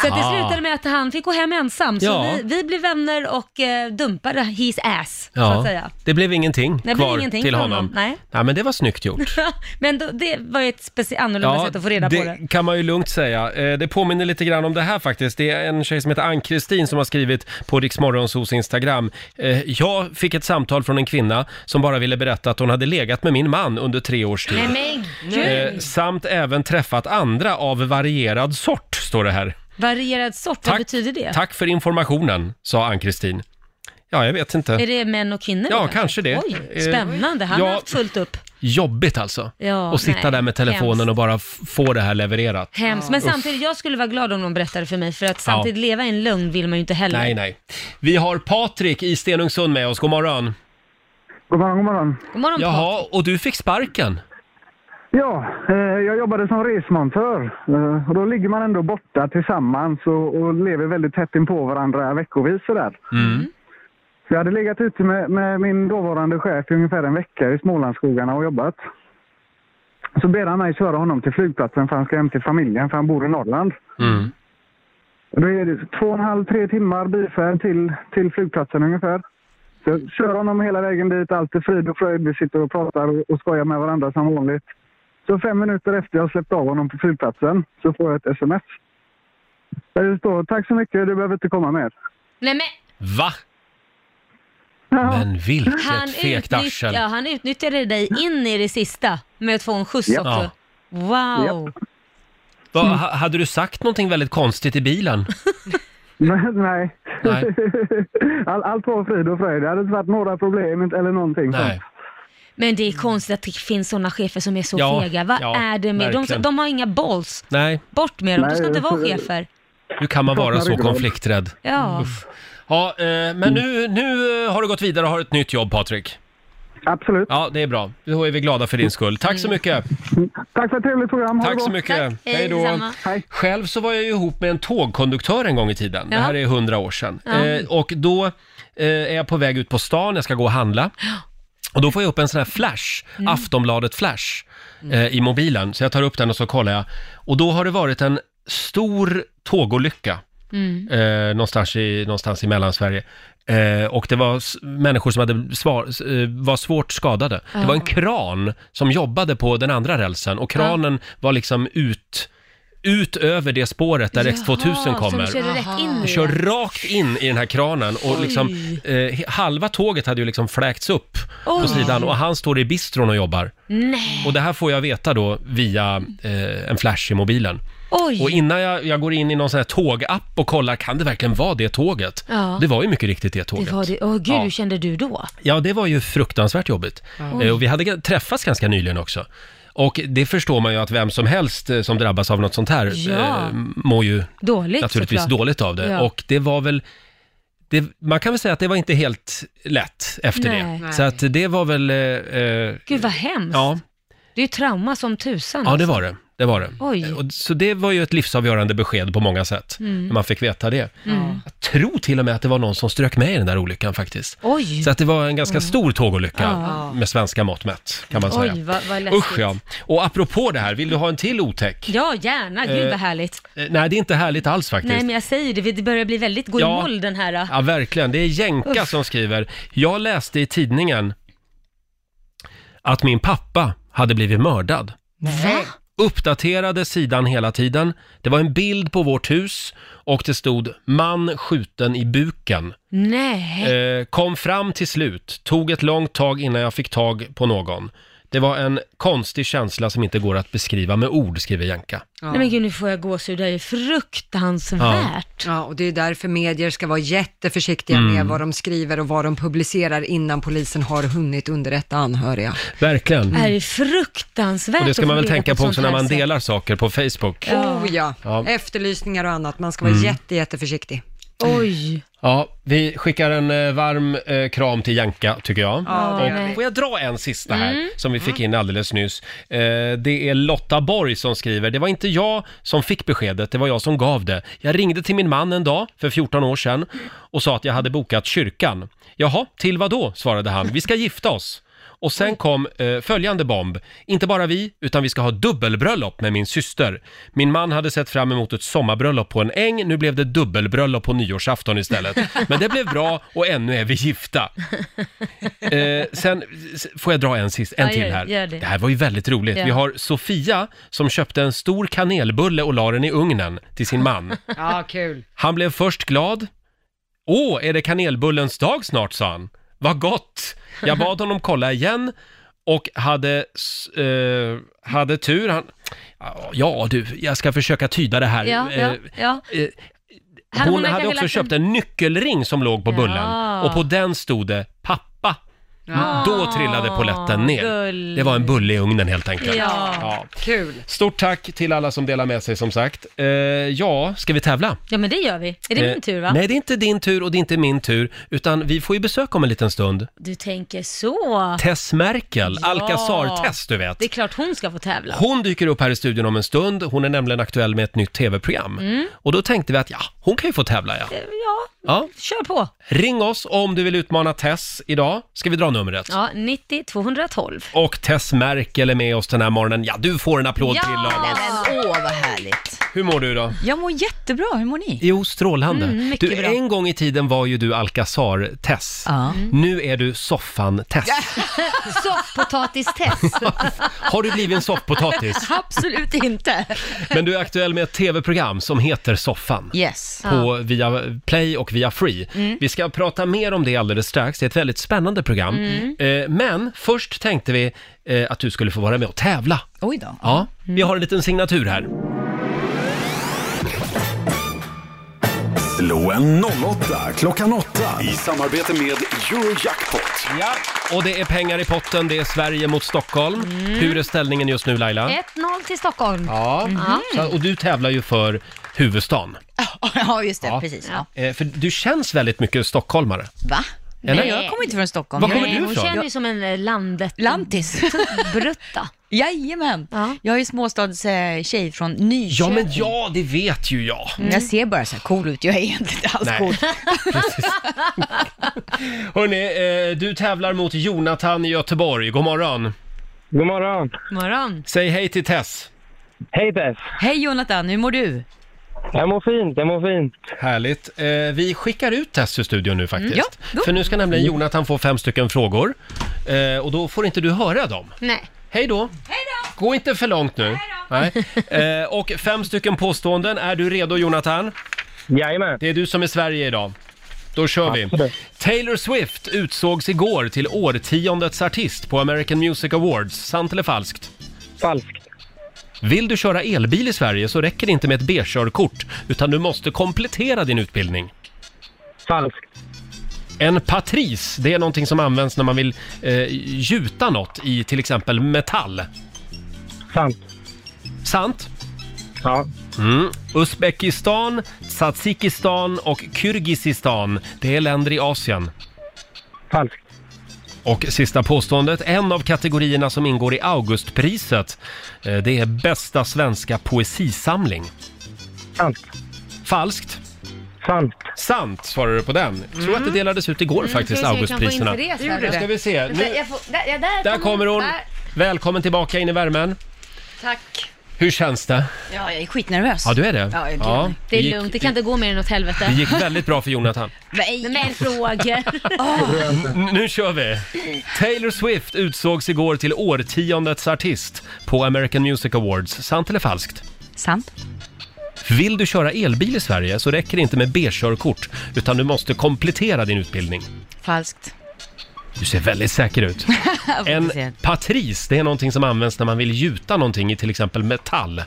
B: så att det
E: Ah.
B: slutade med att han fick gå hem ensam, så
A: Ja.
B: vi, vi blev vänner och eh, dumpade his ass, så att säga.
A: det blev ingenting
B: blev
A: kvar
B: ingenting
A: till
B: för
A: honom.
B: honom, nej.
A: Ja, men det var snyggt gjort.
B: Men då, det var ju ett speci- annorlunda sätt att få reda på det.
A: kan man ju lugnt säga. Eh, Det påminner lite grann om det här faktiskt. Det är en tjej som heter Ann-Kristin som har skrivit på Riksmorgonsos Instagram. Eh, Jag fick ett samtal från en kvinna som bara ville berätta att hon hade legat med min man under tre års tid.
B: Nej men
A: Eh,
B: gud!
A: Samt även träffat andra av varierad sort, står det här.
B: Varierad sort, vad betyder det?
A: Tack för informationen, sa Ann-Kristin. Ja, jag vet inte.
B: Är det män och kvinnor?
A: Ja,
B: då,
A: kanske det.
B: Oj,
A: Eh,
B: spännande. Han
A: ja.
B: har haft fullt upp.
A: Jobbigt alltså.
B: Ja,
A: att sitta
B: nej.
A: där med telefonen
B: Hemskt.
A: och bara f- få det här levererat.
B: Hemskt. Men
A: Uff.
B: samtidigt, jag skulle vara glad om någon berättade för mig, för att samtidigt
A: Ja.
B: leva i en lögn vill man ju inte heller.
A: Nej, nej. Vi har Patrik i Stenungsund med oss. God morgon.
M: God morgon, god morgon.
B: God morgon,
A: Jaha, och du fick sparken?
M: Ja, eh, jag jobbade som resmontör. Eh, och då ligger man ändå borta tillsammans och, och lever väldigt tätt in på varandra veckovis sådär.
A: Mm.
M: Så jag hade legat ute med, med min dåvarande chef i ungefär en vecka i Smålandsskogarna och jobbat. Så ber han mig köra honom till flygplatsen för han ska hem till familjen för han bor i Norrland.
B: Mm.
A: Mm.
M: Då är det två och en halv, tre timmar bilfärd till, till flygplatsen ungefär. Så jag kör honom hela vägen dit, allt är frid och fröjd. Vi sitter och pratar och, och skojar med varandra som vanligt. Så fem minuter efter jag har släppt av honom på flygplatsen så får jag ett sms. Där det står tack så mycket, du behöver inte komma mer.
B: Nej, men
A: Va? Men
B: han,
A: vilket fegt
B: utnyttja,
A: arsel.
B: ja, han utnyttjade dig in i det sista med att få en skjuts
A: Japp.
B: också.
A: Ja.
B: Wow!
A: Va, ha- hade du sagt någonting väldigt konstigt i bilen?
M: Men, nej.
A: Nej.
M: All, allt var frid och fröjd. Det hade inte varit några problem inte- eller någonting
A: Nej.
B: Men det är konstigt att det finns sådana chefer som är så
A: Ja,
B: fega. Vad
A: ja,
B: är det med dem?
A: verkligen.
B: De har inga balls.
A: Nej.
B: Bort med dem, de ska
A: Nej,
B: inte vara
A: så-
B: chefer.
A: Hur kan man vara så
B: Saknar ryggrad.
A: konflikträdd?
B: Ja.
A: Uff. Ja, eh, men nu, nu eh, har du gått vidare och har ett nytt jobb, Patrik.
M: Absolut.
A: Ja, det är bra. Då är vi glada
B: Mm.
A: för din skull. Tack så mycket.
M: Tack för ett trevligt program. Ha det
A: Tack så
M: bra.
A: mycket.
M: Hej,
A: Hej då.
M: detsamma.
A: Själv så var jag ju ihop med en tågkonduktör en gång i tiden. Det här
M: Ja.
A: är hundra år sedan.
M: Ja.
A: Eh, och då eh, är jag på väg ut på stan, jag ska gå och handla. Och då får jag upp en sån här flash,
J: Mm.
A: Aftonbladet flash, eh, i mobilen. Så jag tar upp den och så kollar jag. Och då har det varit en stor tågolycka.
E: Mm.
A: eh, någonstans, i, någonstans i Mellansverige. Eh, och det var s- människor som hade svar, s- eh, var svårt skadade. Det
E: Ja.
A: var en kran som jobbade på den andra rälsen och kranen var liksom ut, ut över det spåret där X2000 kommer.
E: som körde rätt in i
A: Den kör
E: det.
A: rakt in i den här kranen och
E: Oj.
A: liksom, eh, he- halva tåget hade ju liksom fläkts upp på
E: Oj.
A: sidan och han står i bistron och jobbar.
E: Nej.
A: Och det här får jag veta då via eh, en flash i mobilen.
E: Oj.
A: Och innan jag, jag går in i någon sån här tågapp och kollar, kan det verkligen vara det tåget?
B: Ja.
A: Det var ju mycket riktigt det tåget.
B: Det var det. Åh gud,
A: Ja.
B: hur kände du då?
A: Ja, det var ju fruktansvärt jobbigt.
B: Ja.
A: Eh, Och vi hade g- träffats ganska nyligen också. Och det förstår man ju att vem som helst eh, som drabbas av något sånt här
B: Ja.
A: eh, mår ju
B: Dåligt
A: naturligtvis
B: såklart.
A: dåligt av det.
B: Ja.
A: Och det var väl, det, man kan väl säga att det var inte helt lätt efter
B: Nej.
A: det. Så att det var väl... eh, eh,
B: Gud vad hemskt.
A: ja,
B: Det är ju trauma som tusan. alltså.
A: ja, det var det. Det var det.
B: Mm. Oj.
A: Och, så det var ju ett livsavgörande besked på många sätt,
B: Mm.
A: när man fick veta det.
B: Mm.
A: Jag tror till och med att det var någon som strök med i den där olyckan faktiskt.
B: Oj.
A: Så att det var en ganska stor tågolycka
B: Ja.
A: med svenska mått mätt, kan man säga.
B: Oj, vad, vad läskigt.
A: Usch ja. Och apropå det här, vill du ha en till otäck?
B: Ja, gärna. Gud
A: Eh,
B: vad härligt.
A: Eh, Nej, det är inte härligt alls faktiskt.
B: Nej, men jag säger det. Det börjar bli väldigt gå i
A: Ja.
B: moll den här.
A: Ja, verkligen. Det är Jenka
B: Uff.
A: som skriver. Jag läste i tidningen att min pappa hade blivit mördad.
B: Va?
A: Uppdaterade sidan hela tiden. Det var en bild på vårt hus och det stod “man skjuten i buken”.
B: Nej.
A: Eh, kom fram till slut, tog ett långt tag innan jag fick tag på någon. Det var en konstig känsla som inte går att beskriva med ord, skriver Jenka.
B: Nej men gud, nu får jag gåshud. Det här är fruktansvärt.
C: Ja, och det är därför medier ska vara jätteförsiktiga
A: Mm.
C: med vad de skriver och vad de publicerar innan polisen har hunnit underrätta anhöriga.
A: Verkligen.
B: Det här är fruktansvärt.
A: Och det ska
B: att
A: man väl
B: få reda
A: tänka
B: ett
A: på
B: sånt
A: också när
B: här
A: man
B: sätt.
A: delar saker på Facebook.
C: Oh ja.
A: Ja.
C: efterlysningar och annat. Man ska vara
A: Mm.
C: jätte, jätteförsiktig.
B: Oj.
A: Ja, vi skickar en eh, varm eh, kram till Janka, tycker jag.
C: Ja, det gör
A: och
C: vi.
A: får jag dra en sista här,
C: Mm.
A: som vi fick in alldeles nyss. Eh, det är Lotta Borg som skriver, det var inte jag som fick beskedet, det var jag som gav det. Jag ringde till min man en dag, för 14 år sedan, och sa att jag hade bokat kyrkan. Jaha, till vad då? svarade han. Vi ska gifta oss. Och sen kom eh, följande bomb. Inte bara vi, utan vi ska ha dubbelbröllop med min syster. Min man hade sett fram emot ett sommarbröllop på en äng, nu blev det dubbelbröllop på nyårsafton istället. Men det blev bra och ännu är vi gifta. Eh, sen s- får jag dra en, sist, en
E: Ja, gör-
A: till här.
E: gör det.
A: här var ju väldigt roligt.
E: Ja.
A: Vi har Sofia som köpte en stor kanelbulle och la den i ugnen till sin man.
C: Ja, kul.
A: Han blev först glad. Åh, är det kanelbullens dag snart, sa han. Vad gott! Jag bad honom kolla igen och hade, s- eh, hade tur. Han, ja du, jag ska försöka tyda det här.
B: Ja,
A: Eh,
B: ja, ja.
A: eh,
B: Hade
A: hon
B: hon
A: hade
B: kanske
A: också
B: lagt
A: köpt en nyckelring som låg på
B: Ja.
A: bullen och på den stod det pappa.
B: Ja.
A: Mm. Då trillade poletten ner.
B: Gull.
A: Det var en bulle i ugnen helt enkelt.
B: Ja.
C: Kul.
A: Stort tack till alla som delar med sig som sagt. Eh, ja, ska vi tävla?
B: Ja, men det gör vi. Är det
A: Eh,
B: min tur, va?
A: Nej, det är inte din tur och det är inte min tur, utan vi får ju besök om en liten stund.
B: Du tänker så.
A: Tess Merkel,
B: Ja.
A: Alcazar-Tess du vet.
B: Det är klart hon ska få tävla.
A: Hon dyker upp här i studion om en stund, hon är nämligen aktuell med ett nytt tv-program.
B: Mm.
A: Och då tänkte vi att ja, hon kan ju få tävla ja.
B: Eh, Ja,
A: ja.
B: kör på.
A: Ring oss om du vill utmana Tess idag. Ska vi dra numret?
B: Ja, 90 212.
A: Och Tess Merkel är med oss den här morgonen. Ja, du får en applåd till av oss.
N: Men åh, vad härligt.
A: Hur mår du då?
N: Jag mår jättebra, hur mår ni?
A: Jo, strålande.
N: Mm, mycket
A: du,
N: bra.
A: en gång i tiden var ju du Alcazar-Tess. Nu är du soffan-Tess.
N: Soffpotatistest.
A: Har du blivit en soffpotatis?
N: Absolut inte.
A: Men du är aktuell med ett tv-program som heter Soffan.
N: Yes.
A: På via Play och via Free.
N: Mm.
A: Vi ska prata mer om det alldeles strax. Det är ett väldigt spännande program.
N: Mm.
A: Eh, Men först tänkte vi eh, att du skulle få vara med och tävla.
N: Oj då.
A: Ja, vi har en liten signatur här.
D: Slå en 08 klockan 8 i samarbete med Eurojackpot.
A: Ja, och det är pengar i potten. Det är Sverige mot Stockholm.
B: Mm.
A: Hur är ställningen just nu Laila?
B: 1-0 till Stockholm.
A: Ja,
B: Mhm.
A: Mm. så, och du tävlar ju för huvudstaden.
N: Ja, just det.
A: Ja.
N: Precis. Ja.
A: Eh, för du känns väldigt mycket stockholmare.
N: Va?
A: Eller?
N: Nej, jag kommer inte från Stockholm.
A: Var kommer
N: jag,
A: du ifrån?
B: ju som en eh, landet...
N: Lantis.
B: Brutta.
N: Jajamän. Jag är ju småstadstjej från
A: Ja,
N: Nyköping.
A: men ja, det vet ju jag.
N: Mm. Jag ser bara så här cool ut. Jag är egentligen inte alls
A: Nej.
N: cool.
A: Hörrni, eh, du tävlar mot Jonathan i Göteborg. God morgon. God morgon.
B: Morgon.
A: Säg hej till Tess.
O: Hej Tess.
N: Hej Jonathan, hur mår du?
A: Jag mår fint, jag mår fint. Härligt. Eh, vi skickar ut Tess ur studion nu faktiskt.
N: Mm, ja, då.
A: För nu ska nämligen Jonathan få fem stycken frågor. Eh, och då får inte du höra dem.
B: Nej.
A: Hej då! Gå inte för långt nu. Nej. Eh, och fem stycken påståenden. Är du redo Jonathan? Jajamän. Det är du som är Sverige idag. Då kör vi. Taylor Swift utsågs igår till årtiondets artist på American Music Awards. Sant eller falskt? Falskt. Vill du köra elbil i Sverige så räcker det inte med ett B-körkort utan du måste komplettera din utbildning. Falskt. En patris, det är någonting som används när man vill eh, gjuta något i till exempel metall. Sant. Sant? Ja. Mm. Uzbekistan, Tadzjikistan och Kyrgyzstan, det är länder i Asien. Falskt. Och sista påståendet, en av kategorierna som ingår i Augustpriset, eh, det är bästa svenska poesisamling. Sant. Falskt? Sant. Sant svarar du på den. Jag tror att
B: Mm.
A: det delades ut igår faktiskt, Augustpriserna. Nu ska vi se. Nu,
B: Jag får, där, ja, där,
A: där kommer hon.
B: Där.
A: Välkommen tillbaka in i värmen.
B: Tack.
A: Hur känns det?
N: Ja, jag är skitnervös.
A: Ja, du är det?
N: Ja, jag är
A: Ja,
B: Det är
A: gick-
B: lugnt, det kan inte gå mer än åt helvete.
A: Det gick väldigt bra för Jonathan.
N: Nej, Ah,
B: men frågor.
A: N- Nu kör vi! Taylor Swift utsågs igår till årtiondets artist på American Music Awards. Sant eller falskt?
N: Sant.
A: Vill du köra elbil i Sverige så räcker det inte med B-körkort utan du måste komplettera din utbildning.
N: Falskt.
A: Du ser väldigt säker ut. En patris, det är någonting som används när man vill gjuta någonting i till exempel metall.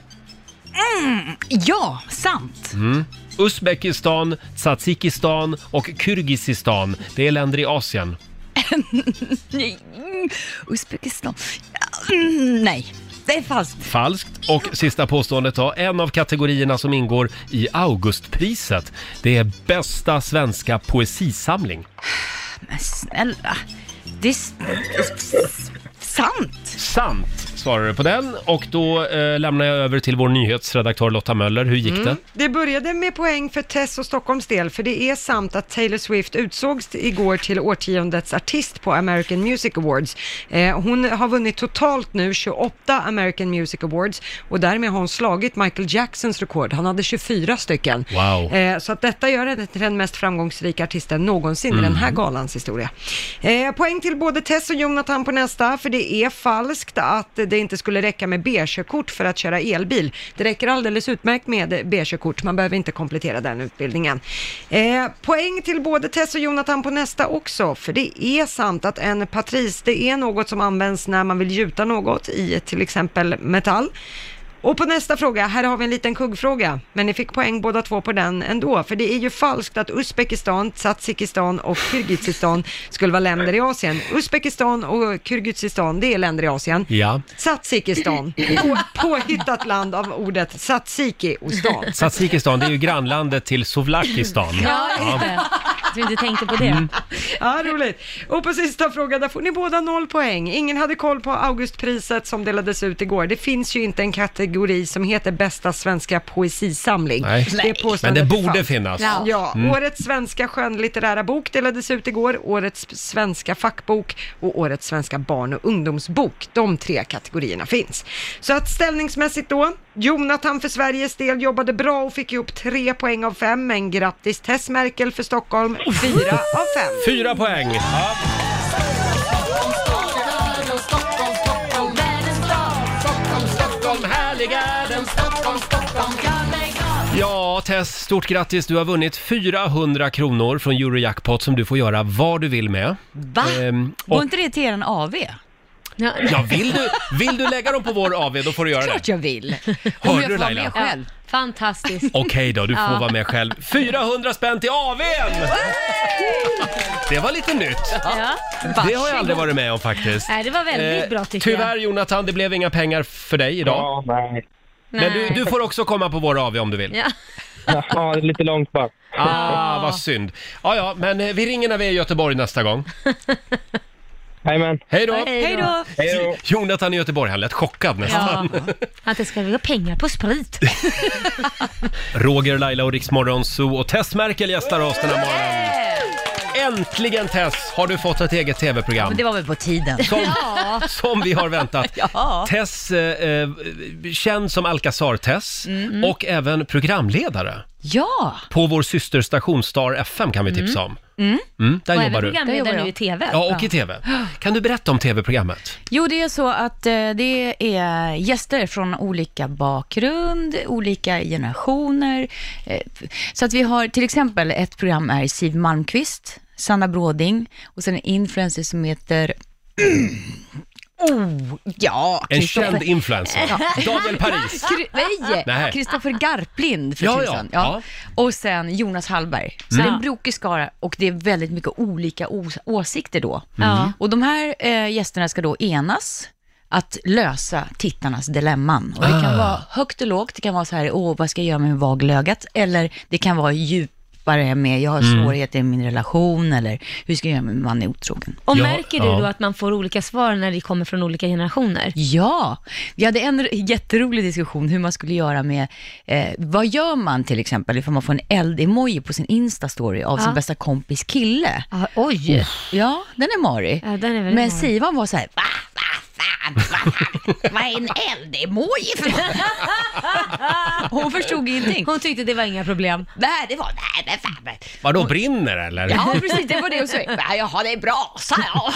N: Mm, ja, sant.
A: Mm. Uzbekistan, Tadzjikistan och Kyrgyzstan, det är länder i Asien.
N: Mm, Uzbekistan. Mm, nej, det är falskt.
A: Falskt. Och sista påståendet då. En av kategorierna som ingår i Augustpriset, det är bästa svenska poesisamling.
N: Men snälla. Det är s- s- sant.
A: Sant svarar du på den. Och då eh, lämnar jag över till vår nyhetsredaktör Lotta Möller. Hur gick det?
C: Mm. Det började med poäng för Tess och Stockholms del, för det är sant att Taylor Swift utsågs igår till årtiondets artist på American Music Awards. Eh, hon har vunnit totalt nu 28 American Music Awards och därmed har hon slagit Michael Jacksons rekord. Han hade 24 stycken.
E: Wow.
C: Eh, så att detta gör henne till den mest framgångsrika artisten någonsin i
E: Mm.
C: den här galans historia. Eh, poäng till både Tess och Jonathan på nästa, för det är falskt att det inte skulle räcka med B-körkort för att köra elbil. Det räcker alldeles utmärkt med B-körkort, man behöver inte komplettera den utbildningen. Eh, poäng till både Tess och Jonathan på nästa också, för det är sant att en patris, det är något som används när man vill gjuta något i till exempel metall. Och på nästa fråga, här har vi en liten kuggfråga, men ni fick poäng båda två på den ändå, för det är ju falskt att Uzbekistan, Tadzjikistan och Kyrgyzstan skulle vara länder i Asien. Uzbekistan och Kyrgyzstan, det är länder i Asien.
A: Ja.
C: Tadzjikistan, på, påhittat land av ordet tzatziki och stan.
A: Tadzjikistan, det är ju grannlandet till Sovlakistan.
C: Ja,
A: Ja.
C: just det.
B: Att vi inte tänkte på det.
C: Ja, roligt. Och på sista frågan, där får ni båda noll poäng. Ingen hade koll på Augustpriset som delades ut igår. Det finns ju inte en kategori som heter bästa svenska poesisamling.
A: Nej.
C: Det är påståendet
A: Men det borde
C: falskt.
A: finnas.
C: Ja,
A: Ja. Mm.
C: årets svenska skönlitterära bok delades ut igår, årets svenska fackbok och årets svenska barn och ungdomsbok. De tre kategorierna finns. Så att ställningsmässigt då, Jonathan för Sveriges del jobbade bra och fick ihop tre poäng av fem, men grattis Tess Merkel för Stockholm, fyra av fem.
A: Fyra poäng! Ja. Ja, Tess, stort grattis. Du har vunnit 400 kronor från Eurojackpot som du får göra vad du vill med.
N: Va?
A: Ehm,
N: Går
A: och,
N: inte det till eran AV?
B: Ja.
A: Ja, vill du, vill du lägga dem på vår AV då får du göra det.
N: Klart jag vill.
A: Hörde du Laila?
B: Ja, fantastiskt.
A: Okej då, du får
B: Ja.
A: vara med själv. 400 spänn till AWn! Det var lite nytt.
B: Ja.
A: Det har jag aldrig varit med om faktiskt. Eh,
B: Nej, det var väldigt bra, tycker jag.
A: Tyvärr Jonathan, det blev inga pengar för dig idag. nej. Men du,
B: Nej.
A: du får också komma på vår AV om du vill.
B: Ja.
A: Ja, det är lite långt bara. Ah, vad synd. Ja, ja, men eh, vi ringer när vi är i Göteborg nästa gång. Jajamän. Hej då!
B: Hej då. Hej då.
A: Jonathan i Göteborg, han lät chockad nästan.
B: Att det ska lägga pengar på sprit.
A: Roger, Laila och Riksmorgon Zoo och Tess Merkel gästar oss den här morgonen. Äntligen Tess, har du fått ett eget tv-program?
N: Men det var väl på tiden.
A: Som, som vi har väntat.
N: Ja.
A: Tess, eh, eh, känd som Alcazar-Tess
N: Mm.
A: och även programledare
N: Ja!
A: på vår systerstation Star FM kan vi tipsa om.
O: Mm.
A: Mm, där
O: Och
A: jobbar
O: även
A: du.
O: programledare
A: Där jobbar
O: nu i TV.
A: jag. Ja, och i
O: Ja.
A: TV. Kan du berätta om TV-programmet?
O: Jo, det är så att eh, det är gäster från olika bakgrund, olika generationer. Eh, Så att vi har till exempel ett program är Siw Malmqvist, Sanna Bråding och sen en influencer som heter Oh, ja.
A: En
O: Christopher-
A: känd influencer. Daniel Paris.
O: Kri-
A: Nej.
O: Nej, Kristoffer Garplind för
A: Ja, ja,
O: tusan.
A: ja.
O: Och sen Jonas Hallberg. Så
A: Mm.
O: det är en brokig skara och det är väldigt mycket olika os- åsikter då.
N: Mm.
A: Ja.
O: Och de här eh, gästerna ska då enas att lösa tittarnas dilemman. Och det kan
N: Ah.
O: vara högt och lågt, det kan vara så här, åh, vad ska jag göra med vaglögat? Eller det kan vara djupare med, jag har
N: Mm.
O: svårigheter i min relation, eller hur ska jag göra med min man är otrogen?
B: Och märker du då att man får olika svar när det kommer från olika generationer?
O: Ja, vi hade en r- jätterolig diskussion hur man skulle göra med, eh, vad gör man till exempel ifall man får en eld-emoji på sin Insta-story av
B: Ja.
O: sin bästa kompis kille?
B: oj!
O: Ja, den är marig.
B: den är väldigt
O: Men
B: marig.
O: Sivan var så här, va?
N: Vad är en eld-emoji för något?
O: Hon förstod ingenting.
B: Hon tyckte det var inga problem.
N: Nej, det var... Nej, men fan. men-
A: Vadå, brinner eller?
O: Ja, precis, det var det hon sa. Nej, Jaha, det är brasa, ja.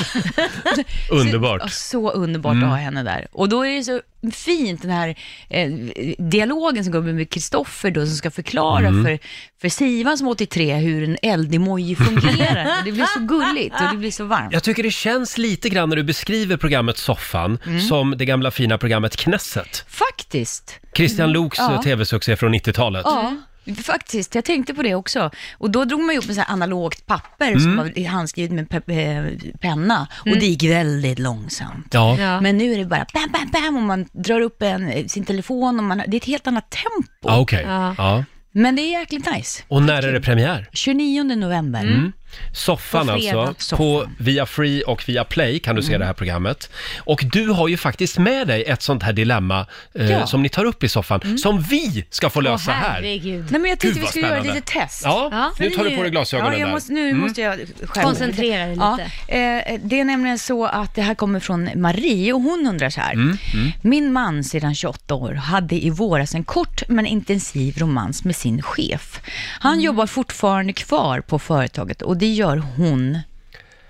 A: Underbart. Mm.
O: Ja, Så underbart att ha henne där. Och då är det så fint den här eh, dialogen som går med Kristoffer då, som ska förklara
N: Mm.
O: för, för Sivan som är 83 hur en eldemoji fungerar. Och det blir så gulligt och det blir så varmt.
A: Jag tycker det känns lite grann när du beskriver programmet Soffan som det gamla fina programmet Knesset.
O: Mm. Faktiskt. Mm.
A: Christian Loks
O: Ja.
A: eh, tv-succé från 90-talet.
O: Ja, faktiskt. Jag tänkte på det också. Och då drog man ju upp en sån här analogt papper
A: Mm.
O: som var handskrivet med pe- eh, penna.
B: Mm.
O: Och det gick väldigt långsamt.
A: Ja.
O: Men nu är det bara bam, bam, bam och man drar upp en, sin telefon och man, det är ett helt annat tempo.
A: Ja, Ah, okej. Ja.
O: Men det är jäkligt nice.
A: Och när är det premiär?
O: 29 november.
A: Mm. Soffan
O: På fredag.
A: alltså, på via Free och via Play kan du se
O: Mm.
A: det här programmet. Och du har ju faktiskt med dig ett sånt här dilemma eh,
O: Ja. Mm.
A: som ni tar upp i soffan, som vi ska få lösa här.
O: Nej, men jag
A: Gud,
O: tänkte vi
A: vad
O: skulle göra ett
A: spännande.
O: litet test.
A: Ja, nu tar du på dig glasögonen
O: ja, jag
A: där.
O: Måste, nu
A: Mm.
O: måste jag skärpa
B: Koncentrera dig lite.
O: Ja, eh, det är nämligen så att det här kommer från Marie och hon undrar så här.
A: Mm,
O: Min man sedan 28 år hade i våras en kort men intensiv romans med sin chef. Han jobbar fortfarande kvar på företaget och det gör hon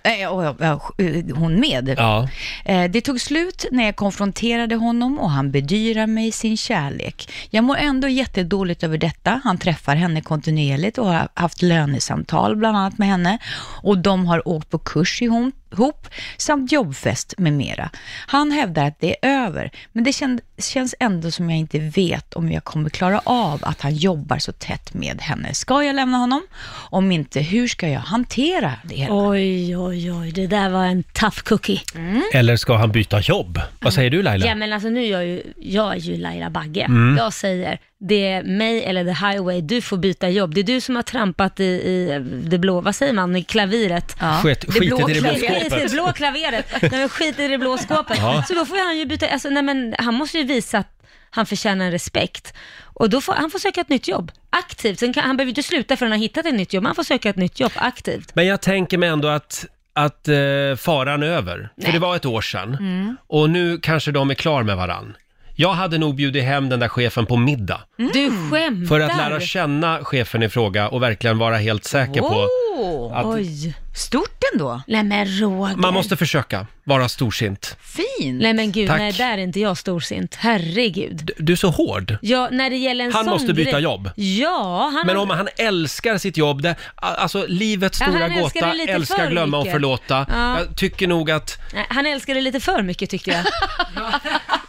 O: Eh, och, ja, eh, hon med.
A: Ja.
O: Eh, Det tog slut när jag konfronterade honom och han bedyrar mig sin kärlek. Jag mår ändå jättedåligt över detta. Han träffar henne kontinuerligt och har haft lönesamtal bland annat med henne och de har åkt på kurs ihop ihop, samt jobbfest med mera. Han hävdar att det är över, men det känd, känns ändå som jag inte vet om jag kommer klara av att han jobbar så tätt med henne. Ska jag lämna honom? Om inte, hur ska jag hantera det hela?
B: Oj, oj, oj. Det där var en tough cookie.
N: Mm.
A: Eller ska han byta jobb? Vad säger du Laila?
B: Ja, men alltså nu är jag ju, jag är ju Laila Bagge.
A: Mm.
B: Jag säger, det är mig eller the highway, du får byta jobb. Det är du som har trampat i, i det blå, vad säger man, i klaviret.
A: Ja. Skit-
B: det
A: skitit i det blå
B: klaviret,
A: skåpet.
B: Det blå klaveret. Nej men skit i det blå skåpet.
A: Ja.
B: Så då får han ju byta, alltså, nej men han måste ju visa att han förtjänar en respekt. Och då får han får söka ett nytt jobb, aktivt. Sen kan, han behöver ju inte sluta förrän han har hittat ett nytt jobb, men han får söka ett nytt jobb aktivt.
A: Men jag tänker mig ändå att, att eh, faran är över. För det var ett år sedan.
B: Mm.
A: Och nu kanske de är klar med varann. Jag hade nog bjudit hem den där chefen på middag.
B: Du skämtar!
A: Mm. För att lära känna chefen i fråga och verkligen vara helt säker på...
O: Wow.
A: att-
O: Oj. Stort ändå.
B: Nej men Roger.
A: Man måste försöka vara storsint.
O: Fint.
B: fint. Nej men gud,
A: Tack.
B: nej där är inte jag storsint. Herregud.
A: Du är så hård.
B: Ja, när det gäller en
A: Han
B: sån
A: måste byta
B: grej-
A: jobb.
B: Ja, han...
A: Men om han älskar sitt jobb, det, alltså livets
B: Ja, han
A: stora
B: älskar
A: gåta,
B: det lite
A: älskar
B: för
A: glömma och
B: mycket.
A: förlåta.
B: Ja.
A: Jag tycker nog att
B: Nej, han älskade lite för mycket tyckte jag.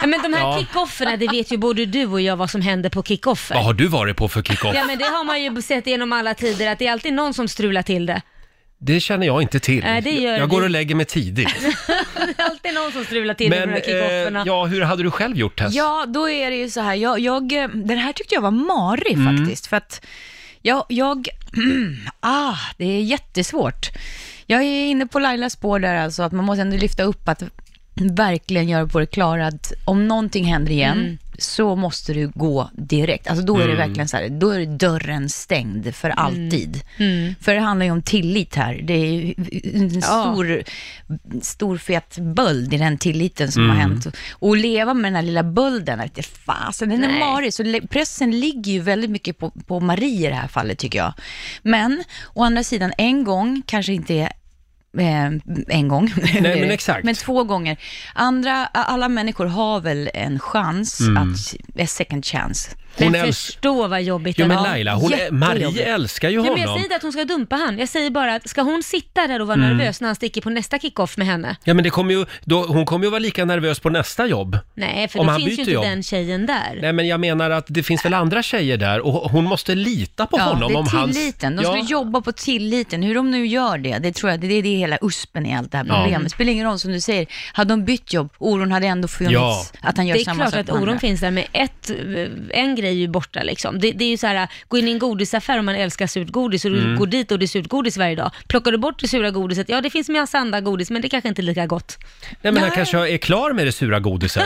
B: Ja, men de här
A: Ja.
B: kickofferna, det vet ju både du och jag vad som händer på kickoffer.
A: Vad har du varit på för kickoff?
B: Ja men det har man ju sett genom alla tider, att det är alltid någon som strular till det.
A: Det känner jag inte till.
B: Nej, det gör
A: jag
B: vi.
A: går och lägger mig tidigt.
B: det är alltid någon som strular till det på
A: Men
B: de här kickofferna.
A: eh, ja, hur hade du själv gjort Tess?
O: Ja, då är det ju så här. Jag, jag, eh, den här tyckte jag var marig
A: Mm.
O: faktiskt, för att jag, jag ah, det är jättesvårt. Jag är inne på Lailas spår där alltså, att man måste ändå lyfta upp att verkligen göra på det klara att om någonting händer igen,
N: Mm.
O: så måste du gå direkt. Alltså då är det
N: Mm.
O: verkligen så här, då är dörren stängd för alltid.
N: Mm.
O: För det handlar ju om tillit här. Det är ju en
N: Ja.
O: stor, stor fet böld i den tilliten som har
N: Mm.
O: hänt. Och leva med den här lilla bölden, att det fasen, den är marig. Så le- pressen ligger ju väldigt mycket på, på Marie i det här fallet tycker jag. Men å andra sidan, en gång kanske inte är Eh, en gång.
A: Nej, men
O: Det är det.
A: exakt.
O: Men två gånger. Andra, alla människor har väl en chans,
A: Mm.
O: att, a second chance.
A: Hon Men äls-
B: förstå vad jobbigt
A: Jo men Laila, hon är, Marie
O: Jättejobbigt.
A: älskar ju
B: Ja,
A: honom.
B: men jag säger inte att hon ska dumpa han. Jag säger bara att ska hon sitta där och vara
A: Mm.
B: nervös när han sticker på nästa kickoff med henne?
A: Ja men det kommer ju, då, hon kommer ju vara lika nervös på nästa jobb.
B: Nej, för
A: Om
B: då
A: han
B: finns ju
A: byter
B: inte
A: jobb.
B: den tjejen där.
A: Nej men jag menar att det finns väl andra tjejer där och hon måste lita på honom
O: det är
A: om hans...
O: tilliten. De skulle jobba på tilliten. Hur de nu gör det, det tror jag, det är det är hela uspen i allt det här
A: Ja.
O: problemet.
A: Mm.
O: spelar ingen roll, som du säger, hade de bytt jobb, oron hade ändå funnits,
A: Ja.
O: att han gör
B: det är
O: samma
B: klart
O: sak
B: att
O: på andra.
B: oron finns där, men ett, en grej är ju borta liksom. Det, det är ju så här, gå in i en godisaffär om man älskar surt godis och
A: Mm.
B: du går dit och det är surt godis varje dag. Plockar du bort det sura godiset, ja det finns massa andra godis, men det kanske inte är lika gott.
A: Nej men han kanske är klar med det sura godiset.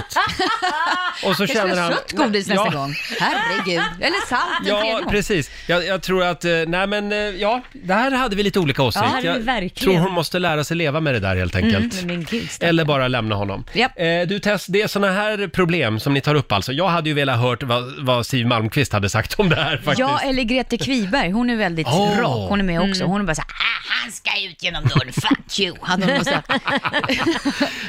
A: och så
O: Kanske
A: känner han...
O: sött godis nästa gång. Herregud. Eller salt en tredje
A: Ja,
O: gång.
A: precis. Jag, jag tror att, eh, nej men eh, ja, där hade vi lite olika
O: Ja,
A: åsikter.
O: här är vi
A: jag
O: verkligen.
A: tror hon måste lära sig leva med det där helt enkelt.
B: Mm. Men gud, stackare.
A: Eller bara lämna honom. Eh, du Tess, det är sådana här problem som ni tar upp alltså. Jag hade ju velat hört vad, vad Siw Malmkvist hade sagt om det här faktiskt.
O: Ja, eller Grete Kviberg, hon är väldigt
A: Åh.
O: rak, hon är med också.
A: Mm.
O: Hon är bara så här, ah, han ska ut genom dörren, fuck you, hade hon sagt.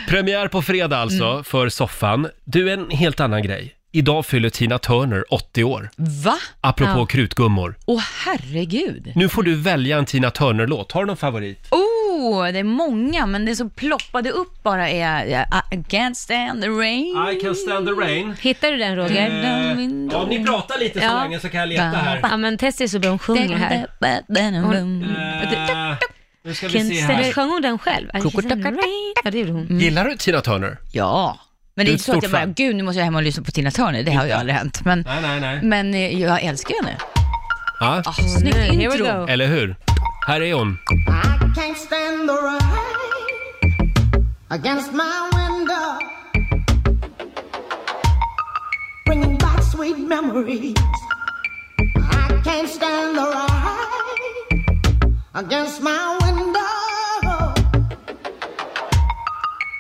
A: Premiär på fredag alltså
O: Mm.
A: för soffan. Du, en helt annan grej. Idag fyller Tina Turner 80 år.
O: Va?
A: Apropå
O: Ja.
A: krutgummor.
O: Åh herregud.
A: Nu får du välja en Tina Turner-låt. Har du någon favorit?
O: Oh, det är många, men det som ploppade upp bara är I can't stand the rain.
A: I can stand the rain.
B: Hittar du den Roger?
A: Eh, om ni pratar lite så länge så kan jag leta här.
B: Ja men Tessie är så bra, hon sjunger här. Hon,
A: Eh, nu ska vi se
B: Kinster,
A: här.
B: sjöng hon den själv? Ja det gjorde hon.
A: Gillar du Tina Turner?
O: Ja. Men
A: Du är
O: det är
A: ett
O: inte så att
A: stort
O: jag bara,
A: fan.
O: gud nu måste jag hem och lyssna på Tina Turner, det har ju aldrig hänt. Men,
A: Nej, nej, nej.
O: men eh, jag älskar ju henne.
A: Ja.
O: Ah, Snyggt intro.
A: Eller hur? Här är hon.
E: I can't stand the rain against my window, bringing back sweet memories. I can't stand the rain against my window,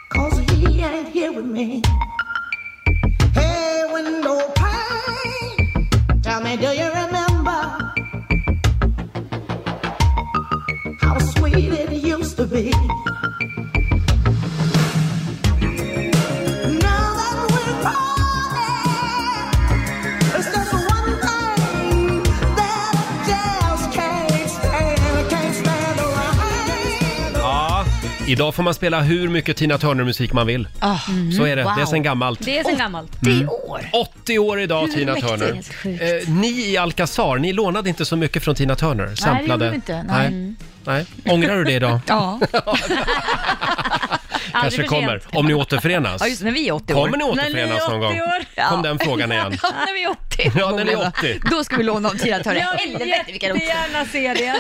E: 'cause he ain't here with me. Hey, window pane, tell me, do you remember how sweet it used to be?
A: Ja. Idag får man spela hur mycket Tina Turner-musik man vill.
O: Ah,
A: Så är det. Det är sen gammalt.
B: Mm. Det är sen gammalt.
A: 80 år idag
B: Hur
A: Tina
B: mäktigt.
A: Turner.
B: Helt sjukt.
A: Eh, ni i Alcazar, ni lånade inte så mycket från Tina Turner? Samplade?
O: gjorde vi inte, nej.
A: Nej. Nej. Ångrar du det idag?
O: Ja.
A: Kanske kommer, om ni återförenas.
O: Ja, just när vi är 80 år.
A: Kommer ni återförenas någon gång? Kom den frågan igen.
O: Ja, när vi är 80.
A: Ja, när ni är 80.
O: Då ska vi låna av Tina Turner.
B: Jag vill
O: Helvete vilka rot.
B: jättegärna se det.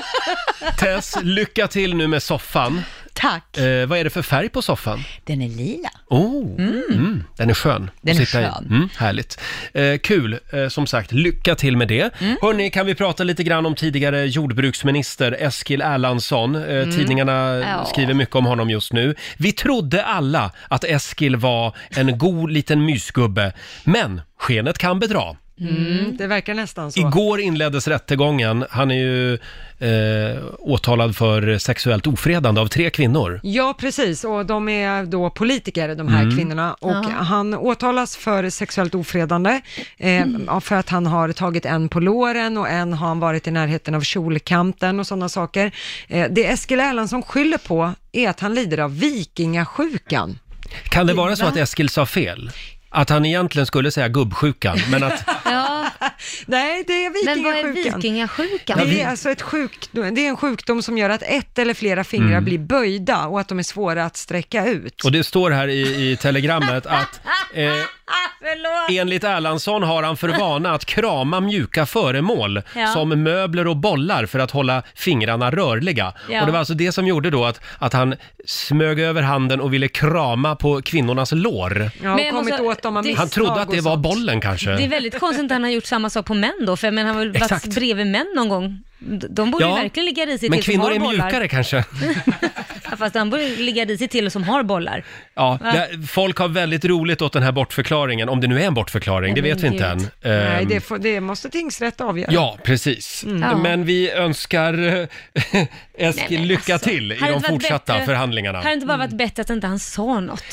A: Tess, lycka till nu med soffan.
O: Tack.
A: Eh, vad är det för färg på soffan?
O: Den är lila.
A: Oh, mm. Den är skön
O: Den
A: att
O: är
A: sitta i.
O: skön.
A: Mm, härligt. Eh, kul, eh, som sagt, lycka till med det.
O: Mm.
A: Hörni, kan vi prata lite grann om tidigare jordbruksminister Eskil Erlandsson? Eh,
J: Mm.
A: Tidningarna
J: Ja.
A: skriver mycket om honom just nu. Vi trodde alla att Eskil var en god liten mysgubbe, men skenet kan bedra.
C: Mm, det verkar nästan så.
A: Igår inleddes rättegången. Han är ju eh, åtalad för sexuellt ofredande av tre kvinnor.
C: Ja, precis. Och de är då politiker, de här
A: Mm.
C: kvinnorna. Och
A: Ja.
C: han åtalas för sexuellt ofredande, eh,
B: Mm.
C: ja, för att han har tagit en på låren och en har han varit i närheten av kjolkanten och sådana saker. Eh, det Eskil Erlandsson skyller på är att han lider av vikingasjukan.
A: Kan det vara så
C: Va?
A: att Eskil sa fel? Att han egentligen skulle säga gubbsjukan, men att
B: Ja.
C: Nej, det är
B: Men vad är
C: vikingasjukan.
B: vikingasjukan?
C: Det är alltså ett sjukdom, det är en sjukdom som gör att ett eller flera fingrar
A: Mm.
C: blir böjda och att de är svåra att sträcka ut.
A: Och det står här i, i telegrammet att eh,
B: Ah, Förlåt!
A: enligt Erlandsson har han för vana att krama mjuka föremål
E: Ja.
A: som möbler och bollar för att hålla fingrarna rörliga.
E: Ja.
A: Och det var alltså det som gjorde då att, att han smög över handen och ville krama på kvinnornas lår.
C: Ja,
B: Men jag kommit måste- åt dem av det-
A: han trodde att det
B: misstag och
A: var
B: sånt.
A: bollen kanske.
B: Det är väldigt konstigt att han har gjort samma sak på män då, för jag menar, han har väl varit
A: Exakt.
B: bredvid män någon gång. De borde
A: Ja,
B: ju verkligen ligga risigt
A: Men
B: till som
A: kvinnor
B: har
A: är
B: bollar.
A: mjukare kanske.
B: Ja, Fast han borde ligga risigt till som har bollar.
A: Ja,
B: Va?
A: det, folk har väldigt roligt åt den här bortförklaringen, om det nu är en bortförklaring, det
C: Men
A: vet vi inte än.
C: gud. Nej,
A: Ehm,
C: det, får, det måste tingsrätt avgöra.
A: Ja, precis.
C: Mm. Ja.
A: Men vi önskar eh, Eskil
B: Nej, men
A: lycka
B: alltså,
A: till i
B: hade
A: de
B: inte varit
A: fortsatta
B: bättre-
A: förhandlingarna. Mm.
B: Hade det inte bara varit bättre att inte han sa något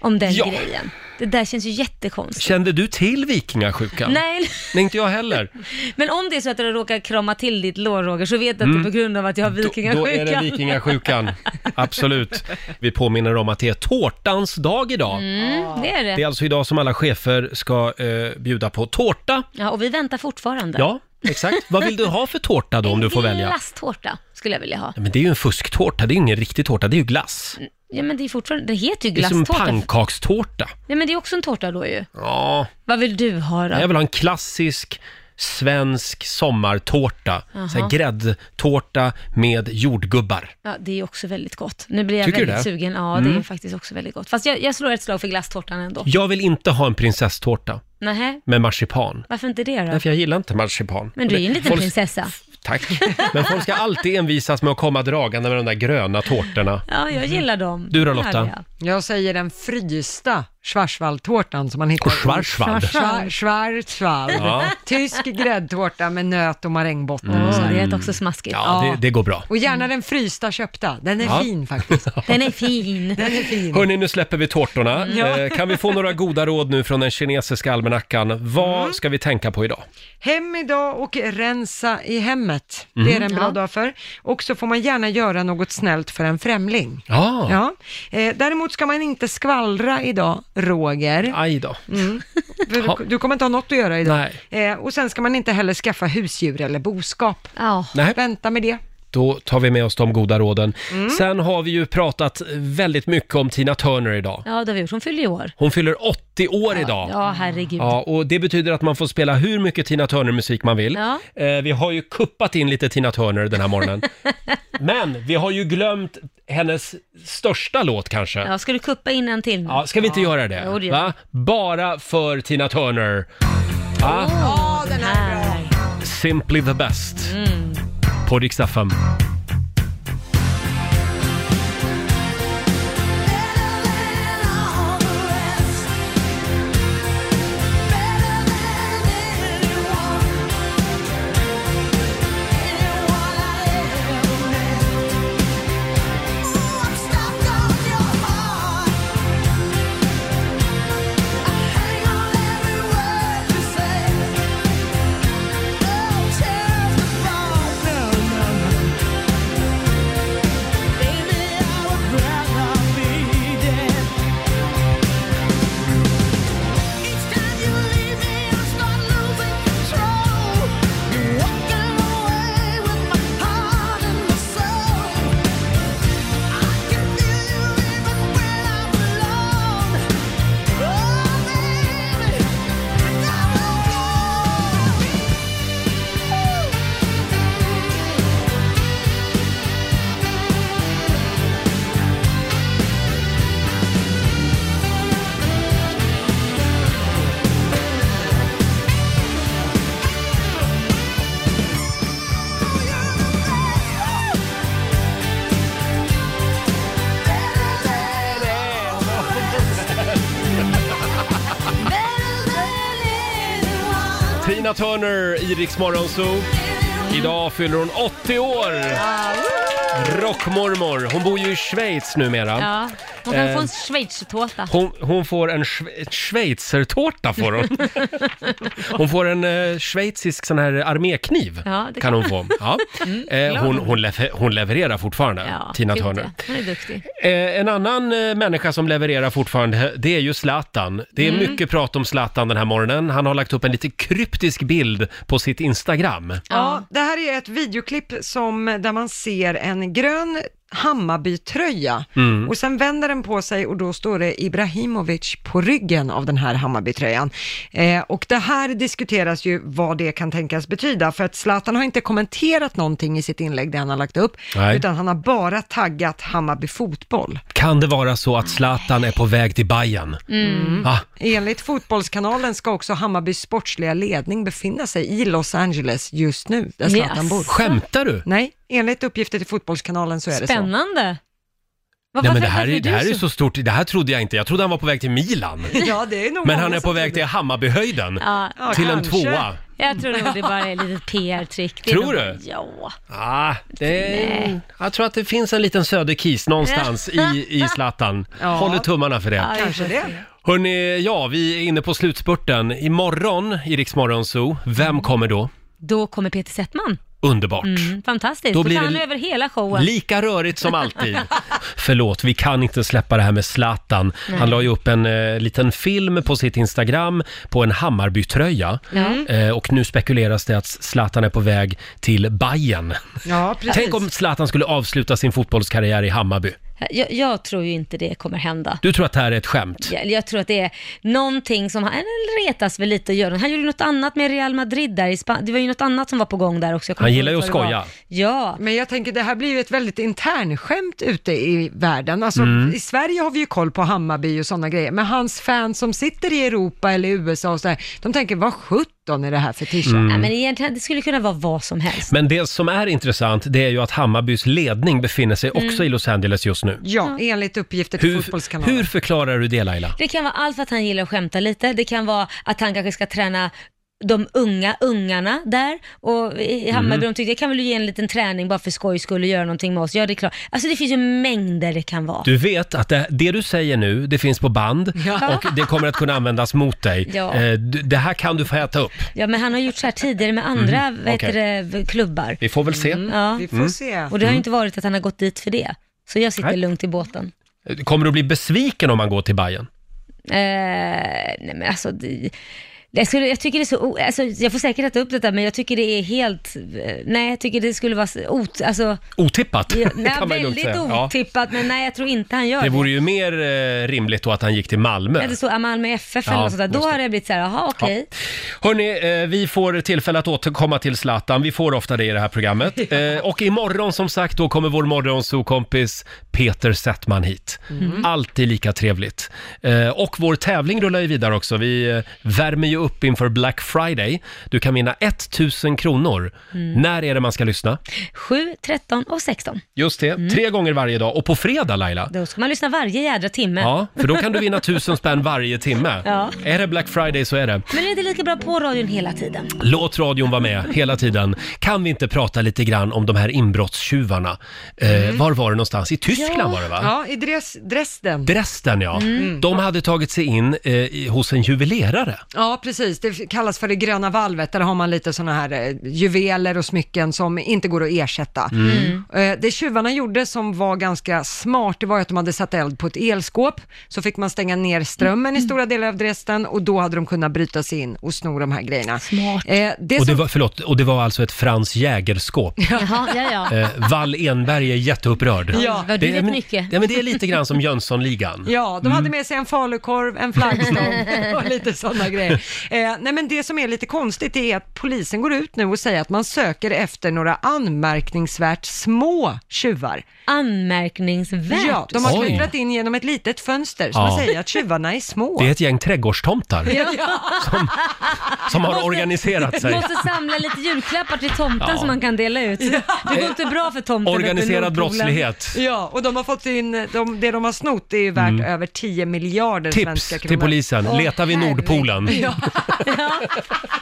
B: om den grejen? Det där känns ju jättekonstigt.
A: Kände du till vikingasjukan?
B: Nej.
A: Nej, inte jag heller.
B: Men om det är så att du råkar krama till ditt lår Roger, så vet du att
A: Mm.
B: det är på grund av att jag har vikingasjukan.
A: Då är det vikingasjukan. Absolut. Vi påminner om att det är tårtans dag idag.
B: Mm, det är det.
A: Det är alltså idag som alla chefer ska eh, bjuda på tårta.
B: Ja, och vi väntar fortfarande.
A: Ja, exakt. Vad vill du ha för tårta då om du får välja?
B: Glasstårta skulle jag vilja ha.
A: Ja, Men det är ju en fusktårta, det är ju ingen riktig tårta, det är ju glass.
B: Ja, men det är fortfarande, det heter ju
A: Det är som en
B: Mm. glasstårta.
A: pannkakstårta.
B: Nej, men det är också en tårta då ju.
A: Ja,
B: Vad vill du ha då?
A: jag vill ha en klassisk svensk sommartårta.
B: Jaha.
A: Så här gräddtårta med jordgubbar.
B: Ja, det är ju också väldigt gott. Nu blir jag
A: Tycker du
B: väldigt
A: det?
B: sugen. Ja, det
A: Mm.
B: är faktiskt också väldigt gott. Fast jag, jag slår ett slag för glasstårtan ändå.
A: Jag vill inte ha en prinsesstårta
B: Nähä,
A: med marsipan.
B: varför inte det då?
A: Därför jag gillar inte marsipan.
B: Men du är ju en liten
A: folk,
B: prinsessa.
A: Tack. Men folk ska alltid envisas med att komma dragande med de där gröna tårtorna.
B: Ja, jag gillar dem.
A: Mm. Du då, Lotta? Härliga.
C: Jag säger den frysta schwarzwaldtårtan som man hittar.
A: Schwarzwald.
C: Schwa- Schwarzwald.
A: Ja.
C: Tysk gräddtårta med nöt och marängbotten.
A: Mm.
C: och så här.
A: Det är också
B: smaskigt.
A: Ja, det, det går bra.
C: Och gärna den frysta köpta. Den är
A: Ja.
C: fin faktiskt.
B: Den är fin.
C: Den är fin.
A: Hörni, nu släpper vi tårtorna.
C: Mm. Ja.
A: Eh, Kan vi få några goda råd nu från den kinesiska almanackan? Vad
B: Mm.
A: ska vi tänka på idag?
C: Hem idag och rensa i hemmet.
A: Mm.
C: Det är en bra
A: Ja.
C: dag för. Och så får man gärna göra något snällt för en främling.
A: Ja.
C: Ja. Eh, däremot ska man inte skvallra idag, Roger.
A: Aj då.
C: Mm. För Du, du kommer inte ha något att göra idag.
A: Nej.
C: Eh, och sen ska man inte heller skaffa husdjur eller boskap.
A: Nej.
C: Vänta med det.
A: Då tar vi med oss de goda råden.
B: Mm.
A: Sen har vi ju pratat väldigt mycket om Tina Turner idag.
B: Ja, det har vi gjort. Hon fyller ju år.
A: Hon fyller 80 år idag.
B: Ja, herregud.
A: Ja,
B: Ja.
A: och det betyder att man får spela hur mycket Tina Turner-musik man vill.
B: Ja.
A: Eh, vi har ju kuppat in lite Tina Turner den här morgonen. Men vi har ju glömt hennes största låt kanske. Ja.
B: ska du kuppa in en till nu?
A: ska vi inte göra det?
B: Jo, det gör
A: Va? Bara för Tina Turner. Ja.
B: Oh.
C: Ja, den här är bra.
A: Simply the best.
E: Mm.
A: På Rix FM.
E: Oh,
A: Tina Turner i Rix Morgon Zoo. Idag fyller hon 80 år! Rockmormor. Hon bor ju i Schweiz numera.
B: Ja, hon kan
A: Eh,
B: få en schweizertårta.
A: hon, hon får en schwe- schweizertårta får hon. Hon får en eh, schweizisk sån här armékniv.
B: Ja, det
A: kan hon
B: kan
A: få.
B: hon.
A: Ja.
B: Mm,
A: Eh, hon,
B: glad.
A: hon, lever, hon levererar fortfarande, Tina
B: gud,
A: Turner.
B: ja. Hon är duktig.
A: Eh, en annan eh, människa som levererar fortfarande, det är ju Zlatan. Det är
B: Mm.
A: mycket prat om Zlatan den här morgonen. Han har lagt upp en lite kryptisk bild på sitt Instagram.
C: Ja, det här är ett videoklipp som, där man ser en grön Hammarbytröja
A: Mm.
C: och sen vänder den på sig och då står det Ibrahimovic på ryggen av den här Hammarbytröjan. Eh, och det här diskuteras ju vad det kan tänkas betyda för att Zlatan har inte kommenterat någonting i sitt inlägg det han har lagt upp
A: Nej.
C: utan han har bara taggat Hammarby fotboll.
A: Kan det vara så att Zlatan är på väg till Bayern?
C: Mm.
A: Ah,
C: Enligt Fotbollskanalen ska också Hammarbys sportsliga ledning befinna sig i Los Angeles just nu, där Zlatan
B: Jaså.
C: bor.
A: Skämtar du?
C: Nej, enligt uppgifter till Fotbollskanalen så är det så.
B: Spännande. Vad-
A: Nej, men
B: varför-
A: det här, är,
B: varför
A: det här
B: du
A: är så stort, det här trodde jag inte. Jag trodde han var på väg till Milan.
C: Ja, det är nog
A: Men han
C: många
A: är på
C: som
A: väg
C: trodde
A: till Hammarbyhöjden.
B: Ja,
A: till en
B: kanske.
A: tvåa.
B: Jag tror nog det bara är ett litet PR-trick. Det är
A: Tror
B: nog-
A: du?
B: Ja.
A: Ah, det är,
B: Nej.
A: jag tror att det finns en liten söderkis någonstans i, i Zlatan.
B: Ja.
A: Håller tummarna för det.
B: Ja, vi får se.
A: Hörni, ja, vi är inne på slutspurten. Imorgon i Rix Morgon Zoo, vem kommer då?
B: Då kommer Peter Settman.
A: Underbart.
B: Mm, fantastiskt.
A: Då
B: Då
A: blir
B: tar
A: det
B: han
A: li-
B: över hela showen.
A: Lika rörigt som alltid. Förlåt, vi kan inte släppa det här med Zlatan.
B: Nej.
A: Han la ju upp en eh, liten film på sitt Instagram på en Hammarbytröja.
C: Mm.
A: Eh, och nu spekuleras det att Zlatan är på väg till Bayern.
C: Ja, precis.
A: Tänk om Zlatan skulle avsluta sin fotbollskarriär i Hammarby.
B: jag, jag tror ju inte det kommer hända.
A: Du tror att det här är ett skämt?
B: Jag, jag tror att det är någonting som han eller retas väl lite och gör. Han gjorde något annat med Real Madrid där i Spanien. Det var ju något annat som var på gång där också. Jag kommer
A: Han
B: inte
A: gillar ju
B: ihåg
A: att
B: vad det
A: skoja.
B: var. Ja.
C: Men jag tänker det här blir ju ett väldigt internskämt ute i världen. Alltså,
A: Mm.
C: I Sverige har vi ju koll på Hammarby och sådana grejer, men hans fans som sitter i Europa eller i USA och sådär, de tänker vad sjutton är det här för tisha?
A: Mm. Ja, men
B: egentligen, det skulle kunna vara vad som helst.
A: Men det som är intressant, det är ju att Hammarbys ledning befinner sig också
B: Mm.
A: i Los Angeles just nu.
C: Ja, enligt uppgifter till
A: Hur,
C: Fotbollskanalen.
A: hur förklarar du det Laila?
B: Det kan vara allt för att han gillar att skämta lite. Det kan vara att han kanske ska träna de unga ungarna där och i Hammarby
A: Mm.
B: de tyckte jag kan väl ge en liten träning bara för skojs skull och göra någonting med oss. Ja, det är klart. Alltså det finns ju mängder det kan vara.
A: Du vet att det, det du säger nu, det finns på band
B: Ja.
A: och det kommer att kunna användas mot dig.
B: Ja.
A: Eh, d- Det här kan du få äta upp.
B: Ja, men han har gjort så här tidigare med andra
A: Mm,
B: vad
A: okej.
B: heter det, klubbar.
A: Vi får väl se.
B: Ja.
A: Vi får Mm. se.
B: Och det har
A: Mm.
B: ju inte varit att han har gått dit för det. Så jag sitter
A: Nej.
B: lugnt i båten.
A: Kommer du bli besviken om man går till Bayern?
B: Eh, nej men alltså, det, jag, skulle, jag tycker det är så, o- alltså, jag får säkert äta upp detta men jag tycker det är helt, eh, nej jag tycker det skulle vara så- ot, alltså,
A: Otippat,
B: ja, nej,
A: kan man ju lugnt
B: väldigt
A: säga. Ja.
B: otippat men nej jag tror inte han gör
A: Det
B: det.
A: vore ju mer eh, rimligt då att han gick till Malmö.
B: Eller så är Malmö FF
A: Ja,
B: eller något sånt där,
A: just
B: då hade jag blivit så här, jaha
A: Ja.
B: okej.
A: Hörni, eh, vi får tillfälle att återkomma till Zlatan. Vi får ofta det i det här programmet. Eh, och imorgon som sagt, då kommer vår morgonsokompis Peter Settman hit.
E: Mm.
A: Alltid lika trevligt. Eh, och vår tävling rullar ju vidare också. Vi eh, värmer ju upp inför Black Friday. Du kan vinna 1000 kronor.
B: Mm.
A: När är det man ska lyssna?
B: 7, 13 och 16.
A: Just det, tre gånger varje dag. Och på fredag Laila,
B: Mm. Då ska man lyssna varje jädra timme.
A: ja, för då kan du vinna 1000 spänn varje timme.
B: Ja.
A: Är det Black Friday så är det.
B: Men det är inte lika bra på radion hela tiden.
A: Låt radion vara med hela tiden. Kan vi inte prata lite grann om de här inbrottstjuvarna? Eh, var var det någonstans? I Tyskland var det va?
C: Mm. Ja, i Dres- Dresden.
A: Dresden ja.
C: Mm.
A: De hade tagit sig in eh, i, hos en juvelerare.
C: Ja, precis. Det kallas för det gröna valvet. Där har man lite sådana här eh, juveler och smycken som inte går att ersätta.
E: Mm.
C: Eh, Det tjuvarna gjorde som var ganska smart, det var ju att de hade satt eld på ett elskåp. Så fick man stänga ner strömmen i stora delar av Dresden och då hade de kunnat bryta sig in och sno de här grejerna. Smart. Det
A: och, det
C: som...
A: var, förlåt, och det var alltså ett Franz Jägerskåp.
B: Jaha, ja, ja.
A: Eh, Wall Enberg är jätteupprörd.
C: Ja, vad du
A: det,
C: vet
A: men,
C: mycket.
A: ja, men det är lite grann som Jönssonligan.
C: Ja, de
B: Mm.
C: hade med sig en falukorv, en flaggstång och lite sådana grejer. Eh, nej, men det som är lite konstigt är att polisen går ut nu och säger att man söker efter några anmärkningsvärt små tjuvar.
B: Anmärkningsvärt?
C: Ja, de har
A: Oj.
C: klättrat in genom ett litet fönster, så
A: Ja.
C: man säger att tjuvarna är små.
A: Det är ett gäng trädgårdstomtar som har organiserat sig.
B: Måste samla lite julklappar till tomten
A: Ja.
B: som man kan dela ut. Det går inte bra för tomten. uppe i
A: Organiserad
B: Nordpolen.
A: brottslighet.
C: Ja, och de har fått in, de, det de har snott är ju värt
A: Mm.
C: över 10 miljarder
A: Tips
C: svenska kronor.
A: till polisen,
C: Åh,
A: leta vid
C: herregud.
A: Nordpolen.
C: Ja.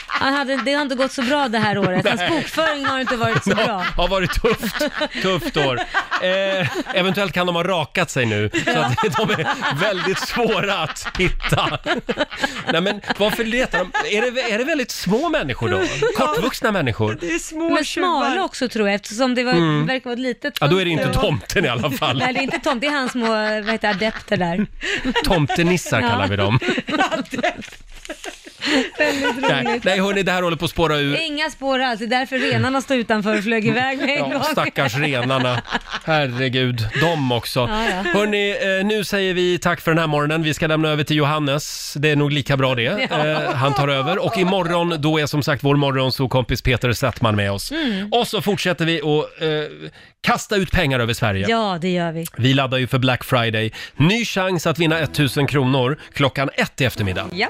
B: Han hade, det har inte gått så bra det här året. Hans
A: Nej.
B: bokföring har inte varit så
A: Ja,
B: bra.
A: Alltså, har varit tufft, tufft år. Eh, eventuellt kan de ha rakat sig nu, så att de är väldigt svåra att hitta. Nej men varför letar de? Är det, är det väldigt små människor då? Kortvuxna människor?
C: Det är små
B: Men smala också tror jag eftersom det var,
A: Mm.
B: verkar vara ett litet
A: Ja, då är det inte
B: fönster.
A: tomten i alla fall.
B: Nej, det är inte tomt. Det är hans små vad heter, det, adepter där.
A: Tomtenissar
B: Ja.
A: kallar vi dem.
B: Väldigt
A: Nej,
B: roligt.
A: nej hörni, det här håller på att spåra ur.
B: Inga spår alls. Det är därför renarna står utanför och flög iväg med en
A: Ja,
B: gång.
A: stackars renarna. Herregud, de också.
B: Ja, ja.
A: Hörni, nu säger vi tack för den här morgonen. Vi ska lämna över till Johannes. Det är nog lika bra det.
E: Ja.
A: Eh, Han tar över. Och imorgon, då är som sagt vår morgonsokompis Peter Settman med oss.
B: Mm.
A: Och så fortsätter vi att eh, kasta ut pengar över Sverige.
B: Ja, det gör vi.
A: Vi laddar ju för Black Friday. Ny chans att vinna 1000 kronor klockan ett i eftermiddag.
B: Ja.